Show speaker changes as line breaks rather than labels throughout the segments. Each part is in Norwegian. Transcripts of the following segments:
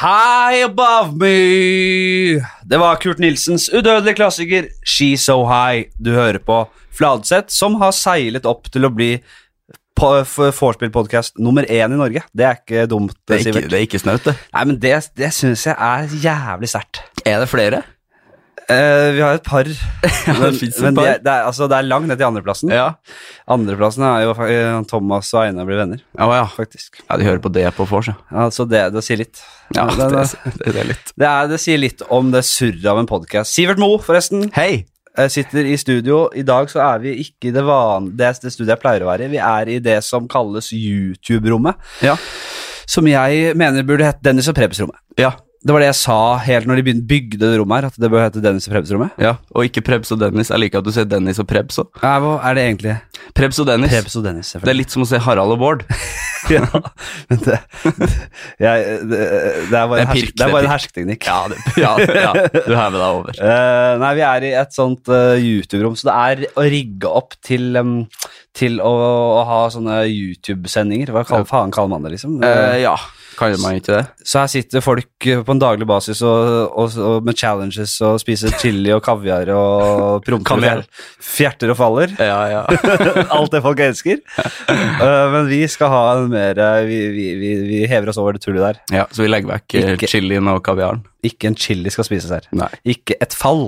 High Above Me. Det var Kurt Nilsens udødelige klassiker She's So High du hører på. Fladseth, som har seilet opp til å bli vorspiel-podkast nummer én i Norge. Det er ikke dumt,
Det er ikke,
Sivert.
det er ikke snaut, det.
Nei, men det, det syns jeg er jævlig sterkt.
Er det flere?
Eh, vi har et par, men,
det finnes et
men
par.
Det, er- det, er, altså, det er langt ned til andreplassen. Andreplassen er jo eh, Thomas og Einar blir venner,
Å ja.
faktisk.
ja. De hører på det på vors, ja.
Altså, det, det sier litt.
ja
det, det,
det, det er litt.
det, er, det sier litt om det surret av en podkast. Sivert Moe, forresten.
Hei!
Jeg sitter i studio. I dag så er vi ikke i det, van det, det studiet jeg pleier å være i. Vi er i det som kalles YouTube-rommet,
Ja.
som jeg mener burde hete Dennis og Prebz-rommet.
Ja.
Det var det jeg sa helt når de begyn- bygde det rommet her, at det bør hete Dennis og Prebz-rommet.
ja. Og ikke Prebz og Dennis. Jeg liker at du sier Dennis og Prebz òg.
Nei, hva er det egentlig?
Prebz og Dennis.
Prebz og Dennis,
Det er
selvfølgelig.
litt som å se Harald og Bård.
ja, men det, jeg, det, det er bare
Det er
en,
pirk,
hersk, det
det er
er bare en
pirk.
hersketeknikk.
Ja, det, ja, ja. Du hever deg over.
Eh, nei, vi er i et sånt eh, YouTube-rom, så det er å rigge opp til, em, til å, å ha sånne YouTube-sendinger. Hva kall, faen kaller man det, liksom?
Eh, ja. Kaller man ikke det?
så her sitter folk eh, på en daglig basis og, og, og med challenges og spiser chili og kaviar og promper og
Kaviar.
fjer- fjerter og faller.
Ja, ja.
Alt det folk elsker. Eh, men vi skal ha en mer eh, vi, vi, vi, vi hever oss over det tullet der.
Ja, så vi legger vekk eh,
Ikke-
chilien og kaviaren.
Ikke en chili skal spises her.
Nei.
Ikke et fall.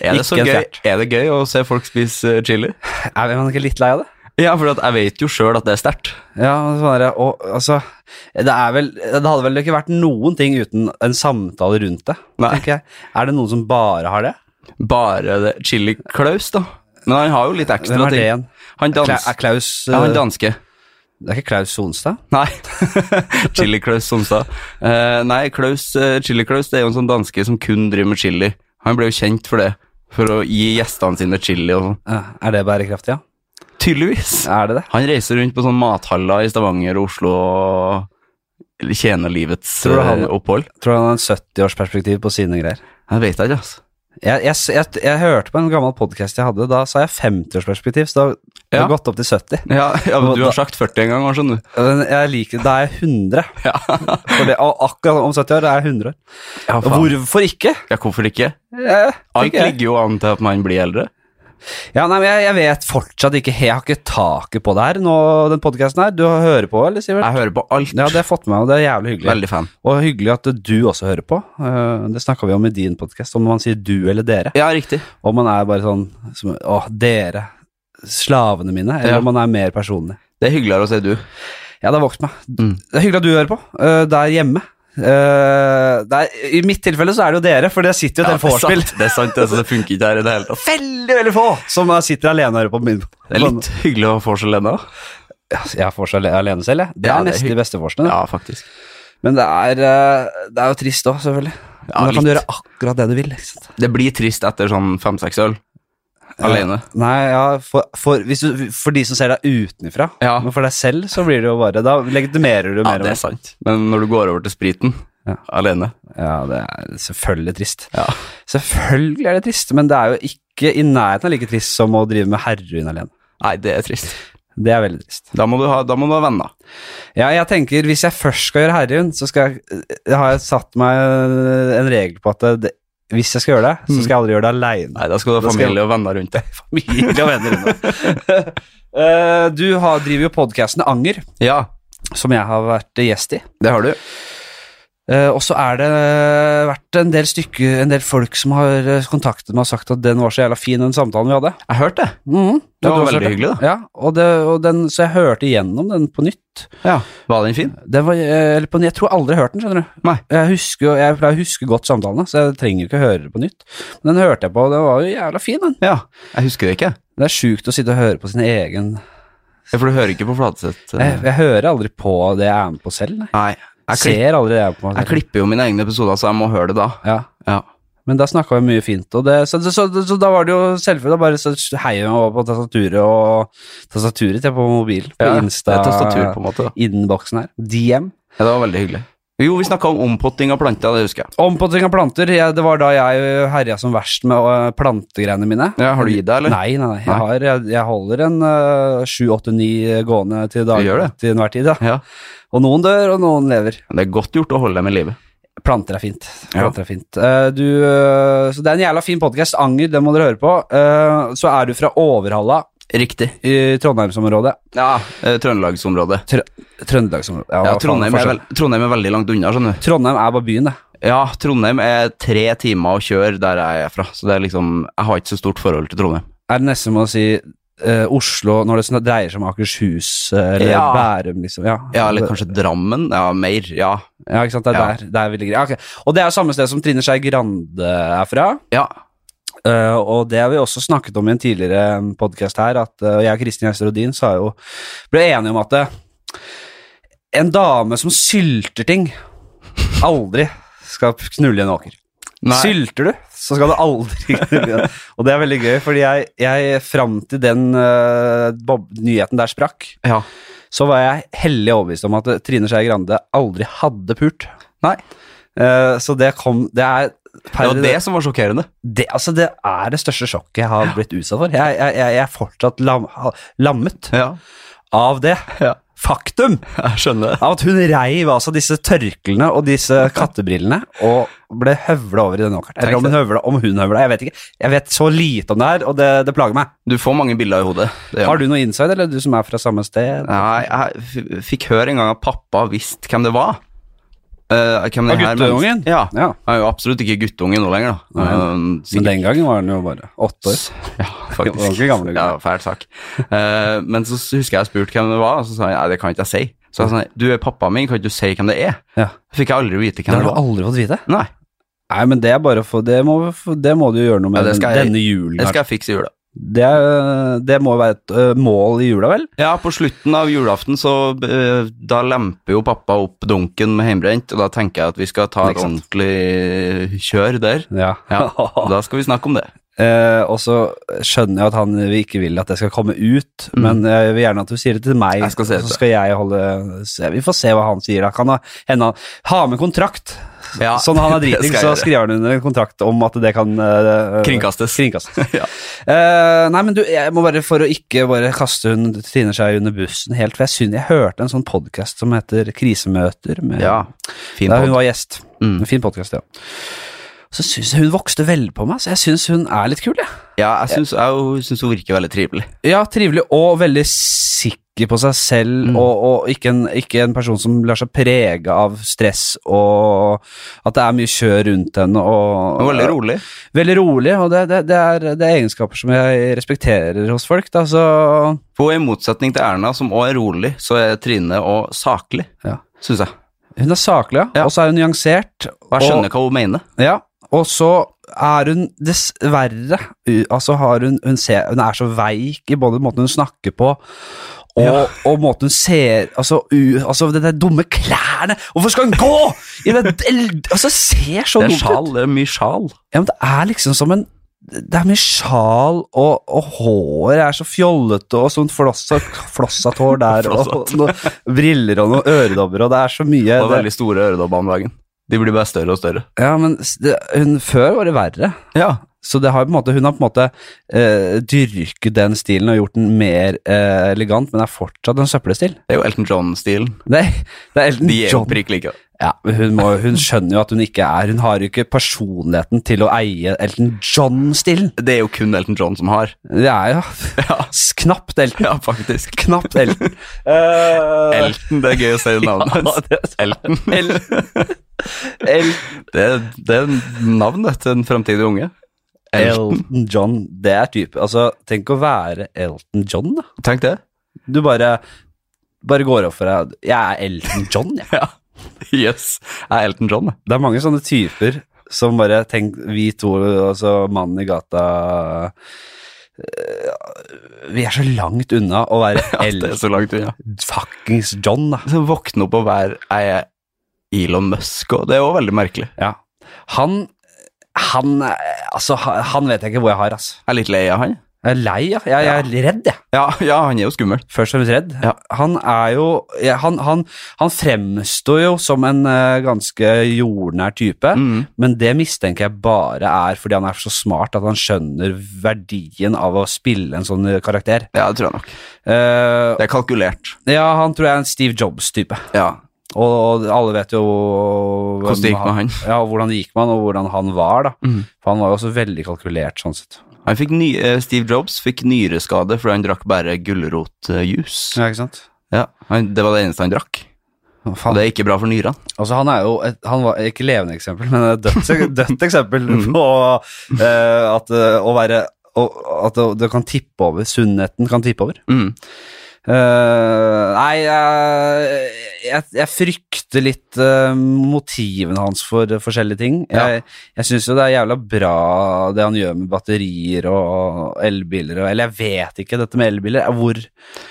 Er det, så
Ikke en
gøy,
fjert.
er det gøy å se folk spise eh, chili?
Er man ikke litt lei av det?
Ja, for at jeg vet jo sjøl at det er sterkt.
Ja, men sånn er det. Og, altså, det, er vel, det hadde vel ikke vært noen ting uten en samtale rundt det.
Nei.
tenker Jeg. Er det noen som bare har det?
Bare det Chili Klaus, da. Men han har jo litt ekstra
Hvem er det
ting.
igjen?
Han
Kla
dans...
er Klaus
Ja, han
eh,
danske.
Det er ikke Klaus Sonstad?
Nei. chili Klaus Sonstad. Eh, nei, Klaus, eh, Chili Klaus det er jo en sånn danske som kun driver med chili. Han ble jo kjent for det. For å gi gjestene sine chili og sånn.
Eh, Er det bærekraftig, ja?
Tydeligvis.
Er det det?
Han reiser rundt på sånn mathaller i Stavanger og Oslo og tjener livets
Tror du han-
eh, opphold.
Tror du han har en 70-årsperspektiv på sine greier?
Jeg vet ikke, altså.
Jeg, jeg, s- jeg, jeg hørte på en gammel podkast jeg hadde, da sa jeg 50-årsperspektiv, så da det
Ja.
har gått opp til 70.
Ja, ja, men
Og
du
da-
har sagt 40 en gang, har skjønner du.
Men jeg liker, da er jeg 100.
Ja,
For det, og akkurat om 70 år er jeg 100 år.
ja,
Og hvorfor ikke?
ja hvorfor ikke?
Eh,
Alt
tenker jeg.
ligger jo an til at man blir eldre.
Ja, nei, men jeg, jeg vet fortsatt ikke Jeg har ikke taket på det her nå, den podcasten her. Du hører på, eller, Sivert?
Jeg hører på alt.
Ja, det har jeg fått med meg, og det er jævlig hyggelig.
Veldig fan.
Og hyggelig at du også hører på. Eh, Det snakka vi om i din podkast, om man sier du eller dere.
Ja, riktig.
Om man er bare sånn som, Å, dere. Slavene mine. Eller
Ja.
om man er mer personlig.
Det er hyggeligere å si du.
Ja, det har vokst meg.
Mm.
Det er hyggelig at du hører på. eh, Der hjemme. Eh, det er, I mitt tilfelle så er det jo dere, for dere sitter jo
Ja,
til en
det er
vorspiel.
sant, det, er sant altså, det funker ikke her i det hele tatt.
Veldig, veldig få som sitter alene og hører på min.
Det er litt hyggelig å ha vors alene. da.
Altså, Jeg har vors ale- alene selv, jeg. Det
Ja,
er
det er
nesten
hygg-
de beste vorsene.
Ja, faktisk.
Men det er, eh, det er jo trist òg, selvfølgelig.
Ja,
Men da kan du
litt.
gjøre akkurat det du vil. Ikke sant?
Det blir trist etter sånn fem-seks øl. Alene.
Ja. Nei, ja, for, for, hvis du, for de som ser deg utenfra.
Ja.
Men for deg selv så blir det jo bare Da legitimerer du
Ja,
mer.
det er sant. Men når du går over til spriten
Ja.
alene
ja, det er selvfølgelig trist.
Ja.
Selvfølgelig er det trist, men det er jo ikke i nærheten av like trist som å drive med heroin alene.
Nei, det er trist.
Det er veldig trist.
Da må du ha, da må du ha venner.
Ja, jeg tenker Hvis jeg først skal gjøre herrehund, så skal jeg, har jeg satt meg en regel på at det, hvis jeg skal gjøre det, så skal jeg aldri gjøre det aleine.
Nei, da skal du ha
Da skal jeg-
familie og venner rundt deg.
Mye å vende unna. Eh, Du har, driver jo podkasten Anger,
Ja,
som jeg har vært gjest i.
det har du.
Eh, Og så er det vært en del stykker, en del folk som har eh, kontaktet meg og sagt at den var så jævla fin, den samtalen vi hadde.
Jeg hørte det.
Mhm. Ja,
Det var
du har
veldig
hørt det.
hyggelig, da.
Ja, og det, og den, så jeg hørte igjennom den på nytt.
Ja. Var den fin?
Den var, eh, eller på, jeg tror aldri jeg har hørt den, skjønner du.
Nei.
Jeg, husker, jo- jeg pleier å huske godt samtalene, så jeg trenger jo ikke høre det på nytt. Men den hørte jeg på, og den var jo jævla fin, den.
Ja. Jeg husker det ikke.
Det er sjukt å sitte og høre på sin egen
Ja, For du hører ikke på Fladseth.
Jeg,
eh.
jeg hører aldri på det jeg er med på selv, nei.
Nei.
Jeg
Jeg, klipp,
ser aldri det jeg er på meg
jeg
selv.
klipper jo mine egne episoder, så jeg må høre det da.
Ja.
Ja.
Men da snakka vi mye fint, og det, så, så, så, så da var det jo selvfølgelig da bare så heiv jeg meg over på tastaturet og Tastaturet til på mobilen, på
Ja,
Insta.
Det er tastatur, på en måte. da.
Innboksen her. DM.
Ja, det var veldig hyggelig. Jo, vi snakka om ompotting av planter, det husker jeg.
Ompotting av planter. Jeg, det var da jeg herja som verst med øh, plantegreiene mine.
Ja, har du gitt deg, eller?
Nei, nei, nei. Jeg,
Nei.
har, jeg, jeg holder en øh, sju, åtte, ni gående til, dag,
Du gjør det?
til enhver tid. Ja.
Ja.
Og noen dør, og noen lever.
Men Det er godt gjort å holde dem i live.
Planter er fint.
Ja.
Planter er fint. Eh, du, eh, så det er en jævla fin podkast. Anger, den må dere høre på. Eh, så er du fra Overhalla
Riktig.
i Trondheimsområdet.
Ja, eh, Trøndelagsområdet.
Trø Trøndelagsområdet. Ja, hva
Ja,
faen,
Trondheim, er
forskjell.
vel- Trondheim er veldig langt unna, skjønner du.
Trondheim er bare byen, det.
Ja, Trondheim er tre timer å kjøre der jeg er fra, så det er liksom Jeg har ikke så stort forhold til Trondheim.
Er det nesten som å si eh, Oslo når det sånn- dreier seg om Akershus eh, eller
Ja.
Bærum, liksom? Ja,
Ja, eller kanskje Drammen? Ja, mer. Ja.
Ja, ikke sant? Det er
Ja.
der, der vi ligger. Ja, ok. Og det er jo samme sted som Trine Skei Grande er fra.
Ja.
Eh, og det har vi også snakket om i en tidligere podkast her, at eh, jeg og Kristin Gjester Odin sa jo Ble enige om at eh, en dame som sylter ting, aldri skal knulle en åker.
Nei.
Sylter du, så skal du aldri knulle en Og det er veldig gøy, fordi jeg, jeg fram til den eh, bob nyheten der sprakk,
ja.
så var jeg hellig overbevist om at eh, Trine Skei Grande aldri hadde pult.
Nei.
Eh, så det kom Det er
Det var det som var sjokkerende.
det, altså, det er det største sjokket jeg har blitt utsatt for. Jeg, jeg, jeg jeg er fortsatt lam, ha- lammet
Ja,
av det
Ja.
faktum
jeg skjønner det.
av at hun reiv altså disse tørklene og disse kattebrillene og ble høvla over i den åkeren. Eller om hun høvla, om hun høvla, jeg vet ikke. Jeg vet så lite om det her, og det, det plager meg.
Du får mange bilder i hodet. Det gjør
Har du noe inside, eller du som er fra samme sted?
Nei, jeg f- fikk høre en gang at pappa visste hvem det var. Eh,
Av
hvem det her
guttungen?
mennesket- Ja.
Ja,
Han er jo absolutt ikke guttunge nå lenger, da. Eh, sikkert-
men den gangen var hun jo bare åtte år.
Ja, faktisk.
Ordentlig gamle gutter.
ja, fæl sak. Eh, men så husker jeg spurte hvem det var, og så sa jeg nei, det kan ikke jeg si. Så jeg sa nei, du er pappaen min, kan ikke du si hvem det er?
Ja.
Fikk jeg aldri vite
Det
hvem
har
det
du
var.
aldri fått vite.
Nei,
Nei, men det er bare for Det må, det må du gjøre noe med
Ja, det skal jeg-
denne julen.
det skal jeg fikse i jula.
Det, er- det må jo være et ø, mål i jula, vel?
Ja, på slutten av julaften så eh, da lemper jo pappa opp dunken med heimbrent, og da tenker jeg at vi skal ta et
Ikke sant.
ordentlig kjør der.
Ja.
Ja, da skal vi snakke om det.
Eh, og så skjønner jeg at han ikke vil at det skal komme ut, men jeg vil gjerne at du sier det til meg.
Mm. Jeg skal si det til
så skal jeg holde se. Vi får se hva han sier. Da kan han hende han ha med kontrakt.
Ja,
sånn han er
det
driting,
skal jeg
så
gjøre.
skriver han under en kontrakt om at det kan eh,
Kringkastes.
kringkastes.
Ja.
Eh, nei, men du, jeg må bare for å ikke bare kaste hun Trine Skei under bussen helt, for jeg synes jeg hørte en sånn podkast som heter Krisemøter med
Ja, fin
Da
podd.
hun var gjest.
Mm.
En fin podkast, ja. Så syns jeg hun vokste veldig på meg, så jeg syns hun er litt kul, jeg.
Ja, jeg syns, jeg syns hun virker veldig trivelig.
Ja, trivelig og veldig sikker på seg selv, og, og ikke, en, ikke en person som lar seg prege av stress og at det er mye kjør rundt henne. Og,
Hun er veldig rolig.
Veldig rolig, og det, det, det, er, det er egenskaper som jeg respekterer hos folk. Da, så
For i motsetning til Erna, som også er rolig, så er Trine og saklig,
Ja.
syns jeg.
hun er saklig, ja.
Ja.
og så er hun nyansert.
Og jeg
og-
skjønner hva hun mener.
Ja, og så er hun dessverre u- Altså har hun Hun, ser, hun er så veik i både måten hun snakker på og, og måten hun ser Altså, u, altså det der dumme klærne Hvorfor skal hun gå?! I det, el- altså, ser så
Det er
dumt
sjal,
ut.
det er mye sjal.
Ja, men det er liksom som en det er mye sjal, og, og håret er så fjollete, og sånt flossa, flossatt hår der, og
Flossatt.
noen briller og noen øredobber, og det er så mye
Og
det-
veldig store øredobber om dagen. De blir bare større og større.
Ja, men s- det, hun før var det verre.
Ja.
Så det har på en måte, hun har på en måte eh, dyrket den stilen og gjort den mer eh, elegant, men det er fortsatt en søppelstil.
Det er jo Elton John-stilen.
Det, er- det er Elton
De er jo
John.
prikk like.
Ja, men hun, må, hun skjønner jo at hun ikke er Hun har jo ikke personligheten til å eie Elton John-stilen.
Det er jo kun Elton John som har.
Det er jo
Ja,
s- knapt Elton.
ja faktisk.
Knapt Elton. Eh,
Elton, det er gøy å si navnet hans. Elton.
El-
Det, er- det er navnet til en fremtidig unge. Elton.
Elton John, det er type Altså, tenk å være Elton John, da.
Tenk det.
Du bare, bare går opp for deg Jeg er Elton John, jeg.
Ja. Yes. Jeg er Elton John, jeg.
Det er mange sånne typer som bare tenk, Vi to, altså mannen i gata eh, Vi er så langt unna å være
Det er
Elton
så langt unna.
fuckings John, da.
Så våkne opp og være Jeg er Elon Musk, og det er jo veldig merkelig.
Ja. Han han, eh, altså, ha- han vet jeg ikke hvor jeg har, altså.
Jeg er litt lei av han.
Jeg er lei, ja. Jeg, jeg er redd, jeg.
Ja, ja, han er jo skummel.
Først og fremst redd.
Ja.
Han er jo ja, Han, han, han fremstår jo som en eh, ganske jordnær type,
Mm.
men det mistenker jeg bare er fordi han er så smart at han skjønner verdien av å spille en sånn eh, karakter.
Ja, det tror jeg nok.
Eh,
Det er kalkulert.
ja, han tror jeg er en Steve Jobs-type.
Ja.
Og, og alle vet jo hvem
Hvordan det gikk med han.
Ja, og hvordan det gikk med han, og hvordan han var, da.
Mhm.
For han var jo også veldig kalkulert, sånn sett.
Han fikk ny, eh, Steve Jobs fikk nyreskade fordi han drakk bare gulrotjuice.
Ja, ikke sant?
Ja, han, det var det eneste han drakk.
Å,
Og
Faen.
det er ikke bra for nyrene.
Altså, han er jo et, han var ikke levende eksempel, men et dødt, dødt eksempel
Mhm.
på eh, at eh, å være å- At det, det kan tippe over. Sunnheten kan tippe over.
Mm.
Eh, nei, jeg, jeg, jeg frykter litt eh, motivene hans for eh, forskjellige ting.
Ja.
Jeg, jeg syns jo det er jævla bra det han gjør med batterier og elbiler og Eller jeg vet ikke dette med elbiler. Hvor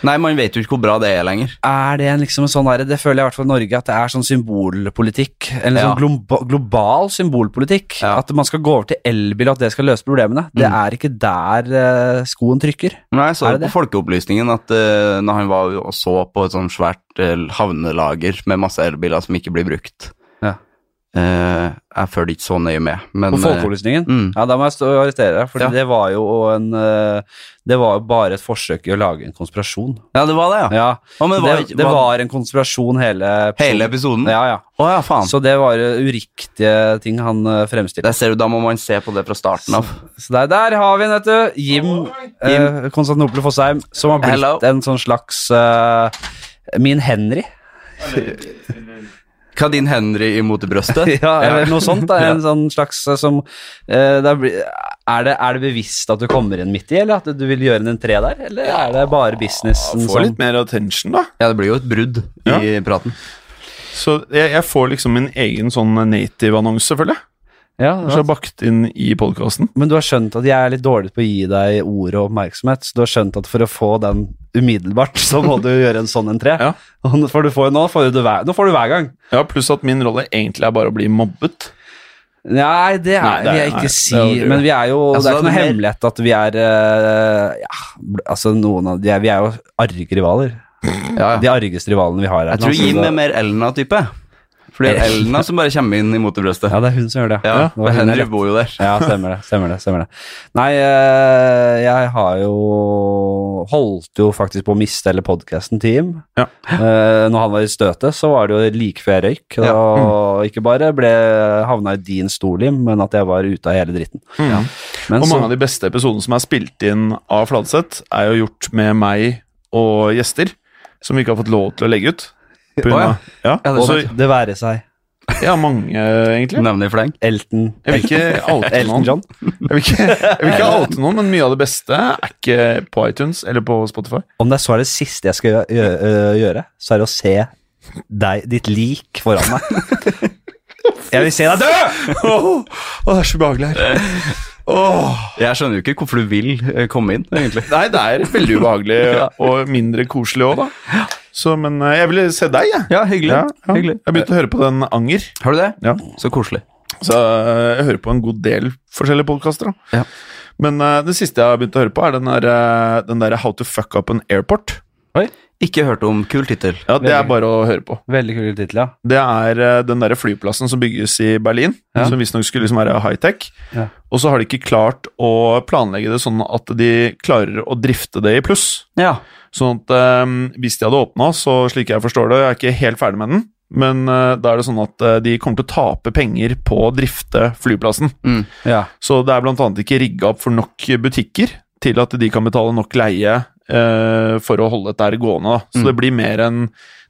Nei, man vet jo ikke hvor bra det er lenger.
er det en liksom en sånn derre Det føler jeg i hvert fall i Norge, at det er sånn symbolpolitikk. En
Ja.
sånn globa, global symbolpolitikk.
Ja. Mm.
At man skal gå over til elbil, og at det skal løse problemene. Det er ikke der eh, skoen trykker.
Nei, jeg så
Er
det
det
på Folkeopplysningen at eh, når han var og så på et sånt svært eh, havnelager med masse elbiler som ikke blir brukt
Ja.
Eh, Jeg følger ikke så nøye med, men
På Folkeopplysningen.
eh, mm,
Ja, da må jeg stå og arrestere deg, for
Ja.
det var jo en eh, Det var jo bare et forsøk i å lage en konspirasjon.
eh, Ja, det var det, ja.
Ja,
Å,
det,
men det var, ikke-
det
var
var en konspirasjon hele
hele episoden?
Ja, ja.
Å ja, faen.
Så det var eh, uriktige ting han eh, fremstilte.
Der ser du, da må man se på det fra starten av.
Så der, der har vi den, vet du. Jim, eh, Konstantinopel Fossheim, som har blitt
Hello.
en sånn slags eh, Min Henry,
Hva din Henry imot i brøstet?
ja, eller noe sånt. Da.
Ja.
En sånn slags eh, som eh, det er, bli- er, det, er det bevisst at du kommer inn midt i, eller at du vil gjøre en entré der? Eller er det bare businessen
Få
som
litt mer attention, da.
Ja, det blir jo et brudd
Ja.
i praten.
Så jeg, jeg får liksom min egen sånn native-annonse, føler jeg.
Ja,
Som er bakt inn i podkasten.
Men du har skjønt at jeg er litt dårlig på å gi deg ord og oppmerksomhet, så du har skjønt at for å få den umiddelbart, så må du gjøre en sånn entré.
Ja.
Og nå får du få, nå, får du det hver, nå får du hver gang.
Ja, pluss at min rolle egentlig er bare å bli mobbet.
Nei, det, er,
Nei, det er-
vil jeg
nei,
ikke
det
si,
er jo-
men vi er jo Det
Altså,
er ikke
det
noe
er mer-
hemmelighet at vi er eh, ja, bl- Altså, noen av de er, Vi er jo arge rivaler.
Ja,
De argeste rivalene vi har her.
Jeg tror
nå, så
Jim
det-
er mer Elna-type. For det er Elna som bare kommer inn imot i brøstet.
Ja, det er hun som gjør det.
Ja,
det var
og
hun jeg
Henry
lette.
bor jo der.
Ja, stemmer det. stemmer det, stemmer det. Nei, eh, jeg har jo holdt jo faktisk på å miste hele podkasten til Jim.
Ja.
Eh, når han var i støtet, så var det jo like før jeg røyk.
Ja.
Og ikke bare ble havna i din stol, Jim, men at jeg var ute av hele dritten.
Ja.
Men
Og
så,
mange av de beste episodene som er spilt inn av Fladseth, er jo gjort med meg og gjester, som vi ikke har fått lov til å legge ut. På grunn
ja.
av- Ja,
Ja, det
og så-
skjønte
det være seg
ja, mange, egentlig.
Nevner i fleng.
Elton,
Jeg vil ikke oute
Elton
noen.
John.
Jeg vil ikke, jeg vil ikke oute noen, men mye av det beste er ikke på iTunes eller på Spotify.
Om det er så er det siste jeg skal gjø- gjø- øh, gjøre, så er det å se deg, ditt lik foran meg. Jeg vil se deg dø!
Åh, det er så ubehagelig her. Åh.
Jeg skjønner jo ikke hvorfor du vil eh, komme inn, egentlig.
Nei, det er veldig ubehagelig og mindre koselig òg, da. Så, men eh, jeg ville se deg, jeg.
Ja, hyggelig.
Ja, ja.
hyggelig.
Jeg begynte å høre på den Anger.
Har du det?
Ja.
Så koselig.
Så eh, jeg hører på en god del forskjellige podkaster.
Ja.
Men eh, det siste jeg har begynt å høre på, er den der, eh, den der How to fuck up an airport.
Ikke hørt om kul tittel.
Ja, Det er
Veldig.
bare å høre på.
Veldig kul tittel, ja.
Det er eh, den der flyplassen som bygges i Berlin,
Ja.
som visstnok skulle liksom være high-tech.
Ja.
Og så har de ikke klart å planlegge det sånn at de klarer å drifte det i pluss.
Ja.
Sånn at eh, hvis de hadde åpna, så slik jeg forstår det, jeg er ikke helt ferdig med den, men eh, da er det sånn at eh, de kommer til å tape penger på å drifte flyplassen.
Mm.
ja.
Så det er bl.a. ikke rigga opp for nok butikker til at de kan betale nok leie eh, for å holde dette her gående. Da. Så
Mm.
det blir mer enn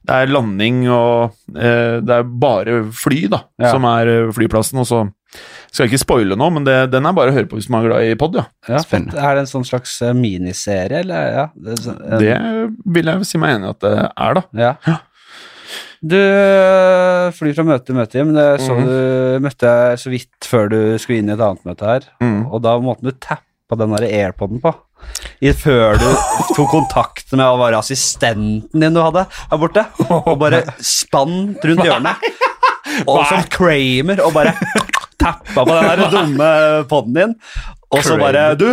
Det er landing og eh, Det er bare fly, da,
Ja.
som er eh, flyplassen. Og så skal jeg ikke spoile nå, men det, den er bare å høre på hvis man er glad i pod, ja.
ja.
Spennende.
Er det en sånn slags eh, miniserie, eller? Ja. Det, er sånn- en-
Det vil jeg si meg enig i at det er, da.
ja. Du øh, flyr fra møte til møte, Jim. Det så
Mhm.
du møtte jeg så vidt før du skulle inn i et annet møte her.
Mm.
Og da måten du tappa den der airpoden på i, Før du tok kontakt med å være assistenten din du hadde her borte, og bare spant rundt hjørnet. Og som Kramer, og bare tappa på den der dumme poden din. Og så bare Du,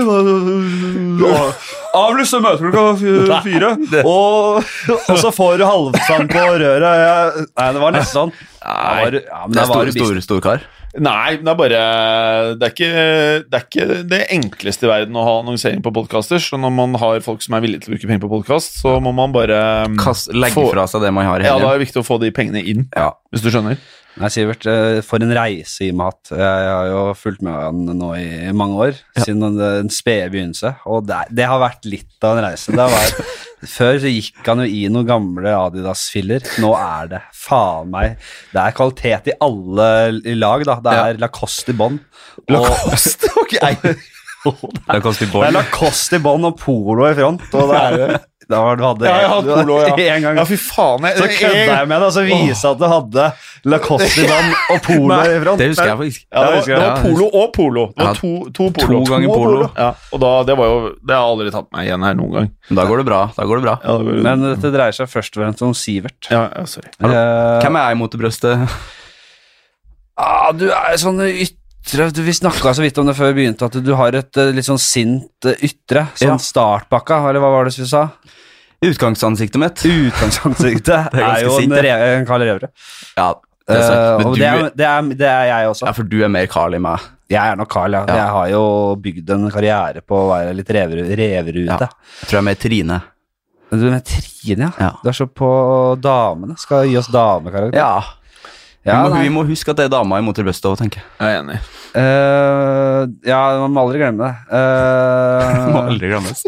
avlyst møtet klokka fire, og, og så får du halvsand på røret. Jeg- Nei, det var nesten sånn. Da var du- ja, men
Det
da
er
var
stor,
du business.
stor, stor kar.
Nei, det er bare det er, ikke, det er ikke det enkleste i verden å ha annonsering på podkaster. Så når man har folk som er villige til å bruke penger på podkast, så må man bare
Kast, legge
Få-
fra seg det man har i
Ja, da
helgen.
er det viktig å få de pengene inn,
Ja.
hvis du skjønner.
Nei, Sivert, eh, for en reise i mat. Jeg har jo fulgt med han nå i mange år, siden den spede begynnelse, og det, er- det har vært litt av en reise. Det var, før så gikk han jo i noen gamle Adidas-filler. Nå er det faen meg Det er kvalitet i alle i lag, da. Det er Lacoste i bånn. og-
Lacoste, ok!
Det koster
Det er
bånd.
Lacoste i bånn og polo i front, og det er jo da var, du hadde
Ja, jeg har hatt polo, ja.
en gang
Ja, fy faen. Jeg,
Så kødda jeg med det, og så viste jeg at du hadde Lacoste i bånn og polo
Nei,
i front.
Det husker jeg faktisk.
Ja,
Ja,
det var,
husker jeg.
det var polo og polo. Det var
Ja,
to, to polo.
to ganger polo.
Ja, og da, det var jo Det har jeg aldri tatt meg igjen her noen gang.
Da går det bra. Da går det bra.
Ja, det var,
Men dette dreier seg først og fremst om Sivert.
ja, ja, sorry.
Eh,
Hvem er jeg mot i brøstet?
ah, du er sånn ytre du- Vi snakka så vidt om det før vi begynte, at du har et eh, litt sånn sint eh, ytre. Sånn
Ja.
startpakka, eller hva var det vi sa?
Utgangsansiktet mitt.
Utgangsansiktet
Det er
er, jo
ganske
en,
sint, det.
re- en Karl Revre.
Ja, det er sant.
Eh,
Men
og
du,
det er, det, er, det er jeg også.
ja, for du er mer Carl i meg.
Jeg er nok Carl, ja.
Ja.
Jeg har jo bygd en karriere på å være litt rever,
Ja.
reverute.
Jeg tror jeg er mer Trine.
Men Du med Trine, ja.
Ja.
Du er så på damene. Skal gi oss damekarakter.
Ja.
Ja,
vi, må,
nei.
vi må huske at det er dama i mot i brøstet òg, tenker jeg.
Jeg er enig.
Eh, ja, man må aldri glemme det. Eh,
Må aldri glemmes.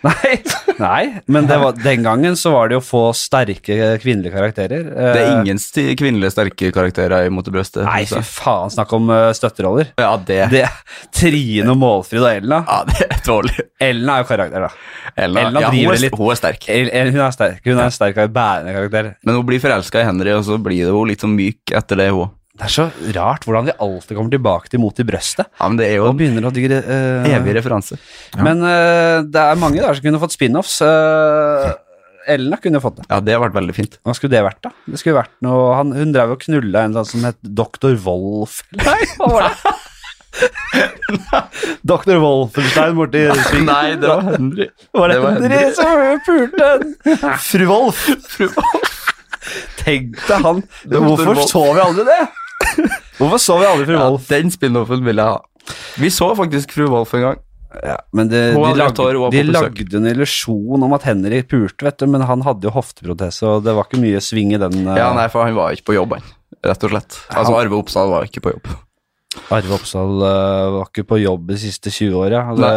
Nei, nei men det var, den gangen så var det jo få sterke kvinnelige karakterer. Eh,
Det er ingen sti- kvinnelige sterke karakterer i mot i brøstet.
Nei, fy
synes jeg.
faen, snakk om eh, støtteroller.
Ja, det,
Det, Trine og Målfrid og Ellen, da.
ja, det er dårlig.
Ellen er jo karakter, da.
Elna,
Elna
ja,
driver
hun, er,
det litt.
hun er sterk.
El- El- Hun er sterk, hun er en sterk og bærende karakter.
Men hun blir forelska i Henry, og så blir det jo litt sånn myk etter det, hun.
Det er så rart hvordan de alltid kommer tilbake til mot i brøstet.
Ja, men det er jo
Og begynner å digre eh,
evig referanse.
Men eh, det er mange der som kunne fått spin-offs. Eh, Ellen da kunne fått det.
Ja, det har vært veldig fint.
Hva skulle det vært, da? Det skulle vært noe, han, Hun drev og knulla en eller annen som het Dr. Wolf. Nei, hva var det? Dr. Wolfenstein borti
Nei, det var Henry.
Var det
det var
Henry
Henry.
som pulte en fru Wolf? Tenk deg han
Dr.
Hvorfor
Wolf.
så vi aldri det? Hvorfor så vi aldri fru
Ja,
Wolf?
den spin-offen vil jeg ha. Vi så faktisk Fru Wolf en gang.
Ja, men det,
Hun
de,
hadde rødt hår, hun
lagde,
var
de
på besøk.
lagde en illusjon om at Henry pulte, vet du, men han hadde jo hofteprotese, og det var ikke mye sving i den. eh,
Ja, nei, for han var ikke på jobb, han. Rett og slett. Altså, Arve Oppsal var ikke på jobb.
Arve Oppsal eh, var ikke på jobb de siste 20 åra. Det,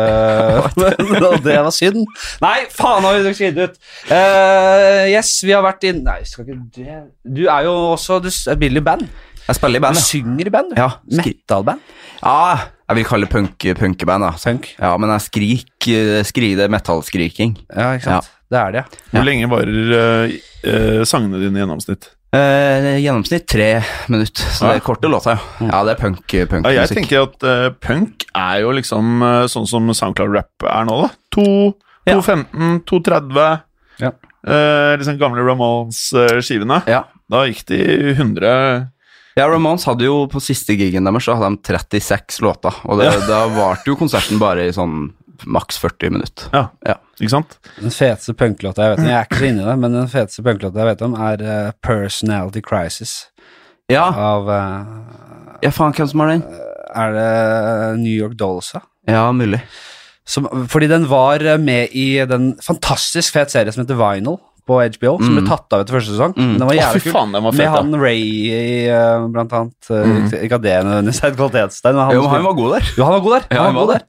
og det var synd. Nei, faen har vi drukket skitt ut! Eh, yes, vi har vært inn Nei, skal ikke det Du er jo også Du spiller i band.
Jeg spiller i
Du
band, ja.
synger i band, du.
Ja, skri-
Metal-band.
ja jeg vil kalle det punk, punkeband, da.
Punk.
Ja, men jeg skrik, eh, skri, det er metallskriking.
Ja, ikke sant. Det er det, ja.
Hvor lenge varer eh, eh, sangene dine i gjennomsnitt?
Eh, gjennomsnitt tre minutter, så det
Ja.
er korte låter, ja. Ah. Ja, det er punk,
Ja, jeg
punkmusikk.
tenker at eh, punk er jo liksom eh, sånn som SoundCloud-rap er nå, da. 2,
Ja.
2.15, 2.30.
Ja.
eh, liksom gamle Ramones-skivene.
Ja.
Da gikk de 100
ja, Ramones hadde jo på siste gigen deres så hadde de 36 låter, og det, da varte jo konserten bare i sånn maks 40 minutter.
Ja,
Ja.
ikke sant?
Den feteste punklåta jeg vet om, jeg er ikke så inne i det, men den feteste punklåta jeg vet om, er eh, 'Personality Crisis'
Ja,
av eh,
ja faen, hvem som har den?
Er det New York Dolls, ja?
Ja, mulig.
Som, fordi den var eh, med i den fantastisk fet serien som heter Vinyl på HBO, som ble tatt av etter første sesong. Men Den var
Mm. Å,
jævlig
fy
kul.
faen, den var
med
fet, Mm. da.
han Ray i, eh, blant annet. eh, Ikke at det nødvendigvis er et kvalitetstegn, men han,
Jo, men han
spilte-
var god der.
jo, han var god der.
Ja,
han var god der.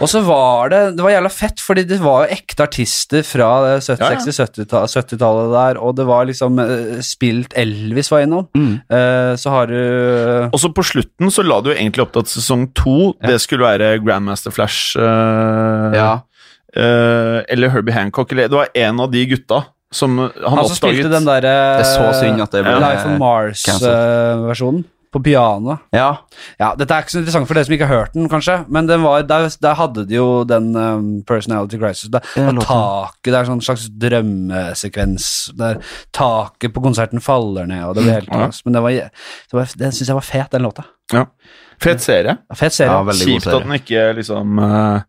Og så var det Det var jævla fett, fordi det var jo ekte artister fra eh, 70,
Ja, ja.
60-, 70-tallet 70-tallet der, og det var liksom eh, spilt Elvis var innom.
Mm.
Eh, så har du
Og så på slutten så la du jo egentlig opp til at sesong to det skulle være Grandmaster Flash eh,
Ja.
eh, eller Herbie Hancock. Eller, det var en av de gutta som han,
Han som
oppdaget.
spilte den der eh,
Det er så synd at det ble
Life on Mars-versjonen på piano.
Ja.
Ja, dette er ikke så interessant for dere som ikke har hørt den, kanskje, men den var, der, der hadde de jo den um, Personality Crisis. Der,
Ja,
der
låten.
taket, det er sånn slags drømmesekvens der taket på konserten faller ned, og det blir helt
Ja.
kaos. Men det var, det var, den syns jeg var fet, den låta.
Ja. Fet serie.
Ja, Fet serie.
Ja, Veldig god
Kjipt
serie.
at den ikke liksom eh,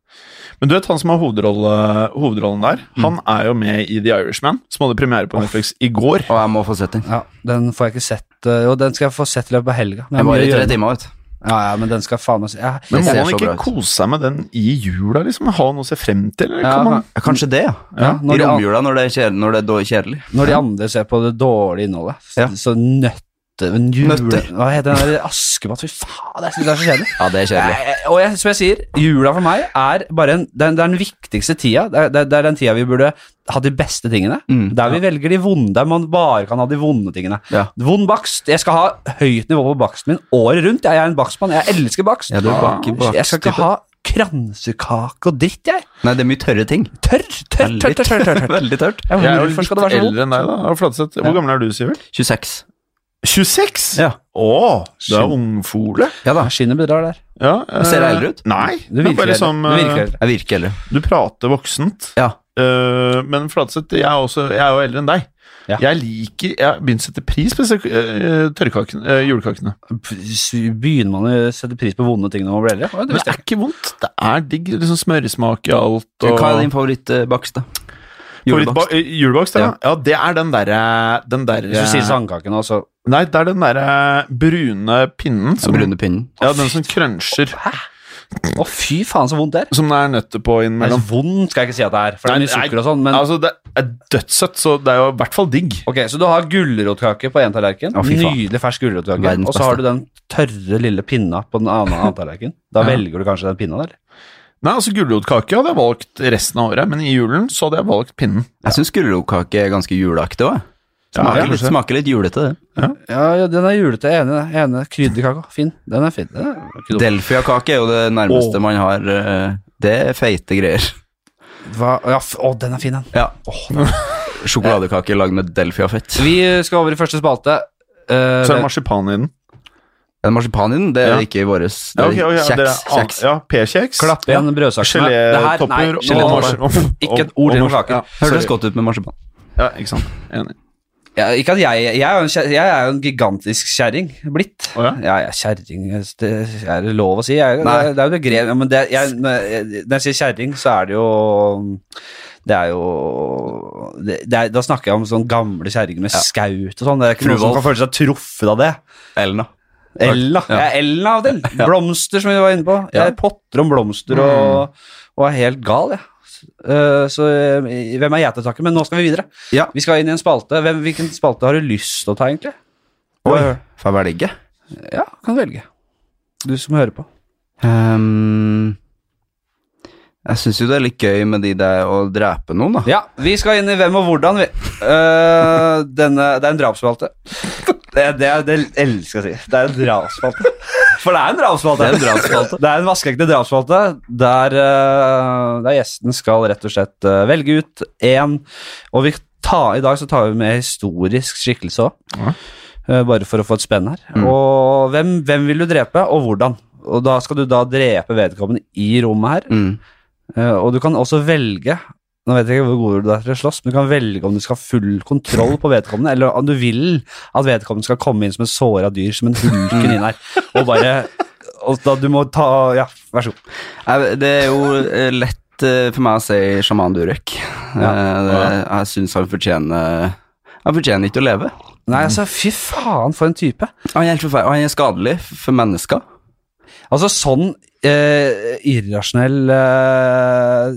Men du vet han som har hovedrolle, hovedrollen der? Han er jo med i The Irishman, som hadde premiere på Netflix i går.
Og jeg må få sett den.
Ja, den får jeg ikke sett, eh, og den skal jeg få sett i løpet av helga. men
Jeg
har
var
mye
i
å
tre
gjøre.
timer, vet du.
Ja, ja, men den skal faen meg se- ja.
Men må
ser
man
så bra
ikke
ut.
kose seg med den i jula, liksom? Ha noe å se frem til? Eller
Ja,
kan man
Ja, Kanskje det, ja.
Ja, når,
I
de, an-
romjula, når det er kjedelig. Når det er dårlig- kjedelig.
når de andre ser på det dårlige innholdet,
Ja.
så nøtte men jule,
Nøtter.
Hva heter den der Askepott? Fy faen, jeg syns det er så kjedelig.
Ja, det er kjedelig.
Nei, Og jeg, som jeg sier, jula for meg er bare en, det er, det er den viktigste tida. Det er, det er- det er den tida vi burde ha de beste tingene.
Mm.
der vi velger de vonde, der man bare kan ha de vonde tingene.
Ja.
Vond bakst. Jeg skal ha høyt nivå på baksten min året rundt. Jeg er en bakstmann. Jeg elsker bakst. Ah,
Ja, du er bak i
jeg skal ikke
bakstype.
ha kransekake og dritt, jeg.
Nei, det er mye tørre ting.
Tørr, tørr, tørr. tørr, tørr, tørr, tørr.
Veldig tørt.
Jeg,
Jeg er jo
hvorfor skal det
litt
være så vondt?
eldre enn deg, da. av Fladseth. Hvor
Ja.
gammel er du, Sivert?
26.
26?
Ja.
Å, du er ungfole.
Ja da.
Skinnet bidrar der.
Ja, eh,
Ser jeg eldre ut?
Nei.
Du
det er
virker,
bare
eldre.
som,
du virker
eh,
eldre.
Jeg virker eldre.
du prater voksent.
Ja.
Eh, men Fladseth, jeg, er også- jeg er jo eldre enn deg.
Ja.
Jeg liker Jeg har begynt å sette pris på disse eh, tørrkakene, eh, julekakene.
P- Begynner man å sette pris på vonde ting når man blir eldre? Å, det
Men det
visste jeg.
er ikke vondt. Det er digg. Liksom smøresmak i alt. Og
Hva er din
eh,
favorittbakst, da? Julebakst.
Favorittba- eh, julebakst, ja. ja. Det er den derre Den
Hvis du sier sånn. altså.
derre
sandkake nå, så
Nei, det er den derre brune pinnen. Som,
Brune pinnen.
Ja, den som krønsjer.
Å, fy faen, så vondt det er.
Som det er nøtter på
Det er
innimellom.
så vondt, skal jeg ikke si at det er, for det er
Nei,
mye sukker og sånn, men
Altså, det er dødssøtt, så det er jo i hvert fall digg.
Ok, Så du har gulrotkake på én tallerken.
Å, fy faen.
Nydelig fersk gulrotkake.
Verdens
Og så har
beste.
du den tørre, lille pinna på den andre andre tallerken. Da
Ja.
velger du kanskje den pinna der?
Nei, altså Gulrotkake hadde jeg valgt resten av året, men i julen så hadde jeg valgt pinnen.
Jeg syns gulrotkake er ganske juleaktig òg. Smaker,
Ja,
litt-
kanskje.
smaker litt julete, det.
Ja, ja den er julete. jeg er Enig. jeg er enig. Krydderkake. Fin. Den er fin. Den er ikke dum.
Delfiakake er jo det nærmeste
Åh.
man har. eh, Det er feite greier.
Hva? Ja, f å, den er fin, den.
Ja. Sjokoladekake lagd med delfiafett.
Vi skal over i første spalte. Eh,
Så er det marsipan i den.
Den marsipanen din, det er
Ja.
ikke våres. Det
Ja,
er
ok, ok, dere
kjeks.
er an-
kjeks.
Ja, P-kjeks.
klapp igjen brødsakene. Det her- nei,
Gelétopper og
gelétopper.
marsipan.
Ikke et ord til om kake.
Hørtes godt ut med marsipan.
Ja, ikke sant. Enig.
Ja, ikke at jeg, jeg, er jo en, kjer- jeg er jo en gigantisk kjerring blitt.
Å ja?
Jeg er kjerring, det er det lov å si. Jeg, det,
Nei.
det er jo begrep, ja, men det, jeg, når jeg når jeg sier kjerring, så er det jo Det er jo det, det er, Da snakker jeg om sånne gamle kjerringer med skaut og sånn. Det er ikke noen som
Fruvoll.
kan føle seg truffet av det.
Elna.
Ella.
Ja.
Jeg er Ella av og til. Blomster, som vi var inne på. Jeg potter om blomster
Mm.
og, og er helt gal, jeg. Eh, så eh, hvem er jeg til å takke? Men nå skal vi videre.
Ja.
Vi skal inn i en spalte. Hvem, hvilken spalte har du lyst til å ta, egentlig?
Oi, får jeg velge?
Ja, kan velge. Du som hører på.
Ehm, jeg syns jo det er litt gøy med de der å drepe noen, da.
Ja, vi skal inn i hvem og hvordan, vi. Eh, denne, det er en drapsspalte. Det, det, er- det elsker jeg å si. Det er en drapsspalte. For det er en drapsspalte. Det er en drapsspalte. Det er en vaskeekte drapsspalte der, eh, der gjesten skal rett og slett eh, velge ut én. Og vi tar, i dag så tar vi med historisk skikkelse òg.
Ja.
Eh, bare for å få et spenn her.
Mm.
Og hvem, hvem vil du drepe, og hvordan? Og da skal du da drepe vedkommende i rommet her.
Mm.
Eh, og du kan også velge Nå vet jeg ikke hvor god du er til å slåss, men du kan velge om du skal ha full kontroll på vedkommende, eller om du vil at vedkommende skal komme inn som et såra dyr, som en hulken inn her, og bare og da Du må ta Ja, vær så god.
Jeg, det er jo eh, lett eh, for meg å si sjaman Durek. Eh, det, jeg syns han fortjener Han fortjener ikke å leve.
Nei, altså, fy faen, for en type.
Han er helt forferdelig, og han er skadelig for mennesker.
Altså, sånn eh, irrasjonell eh,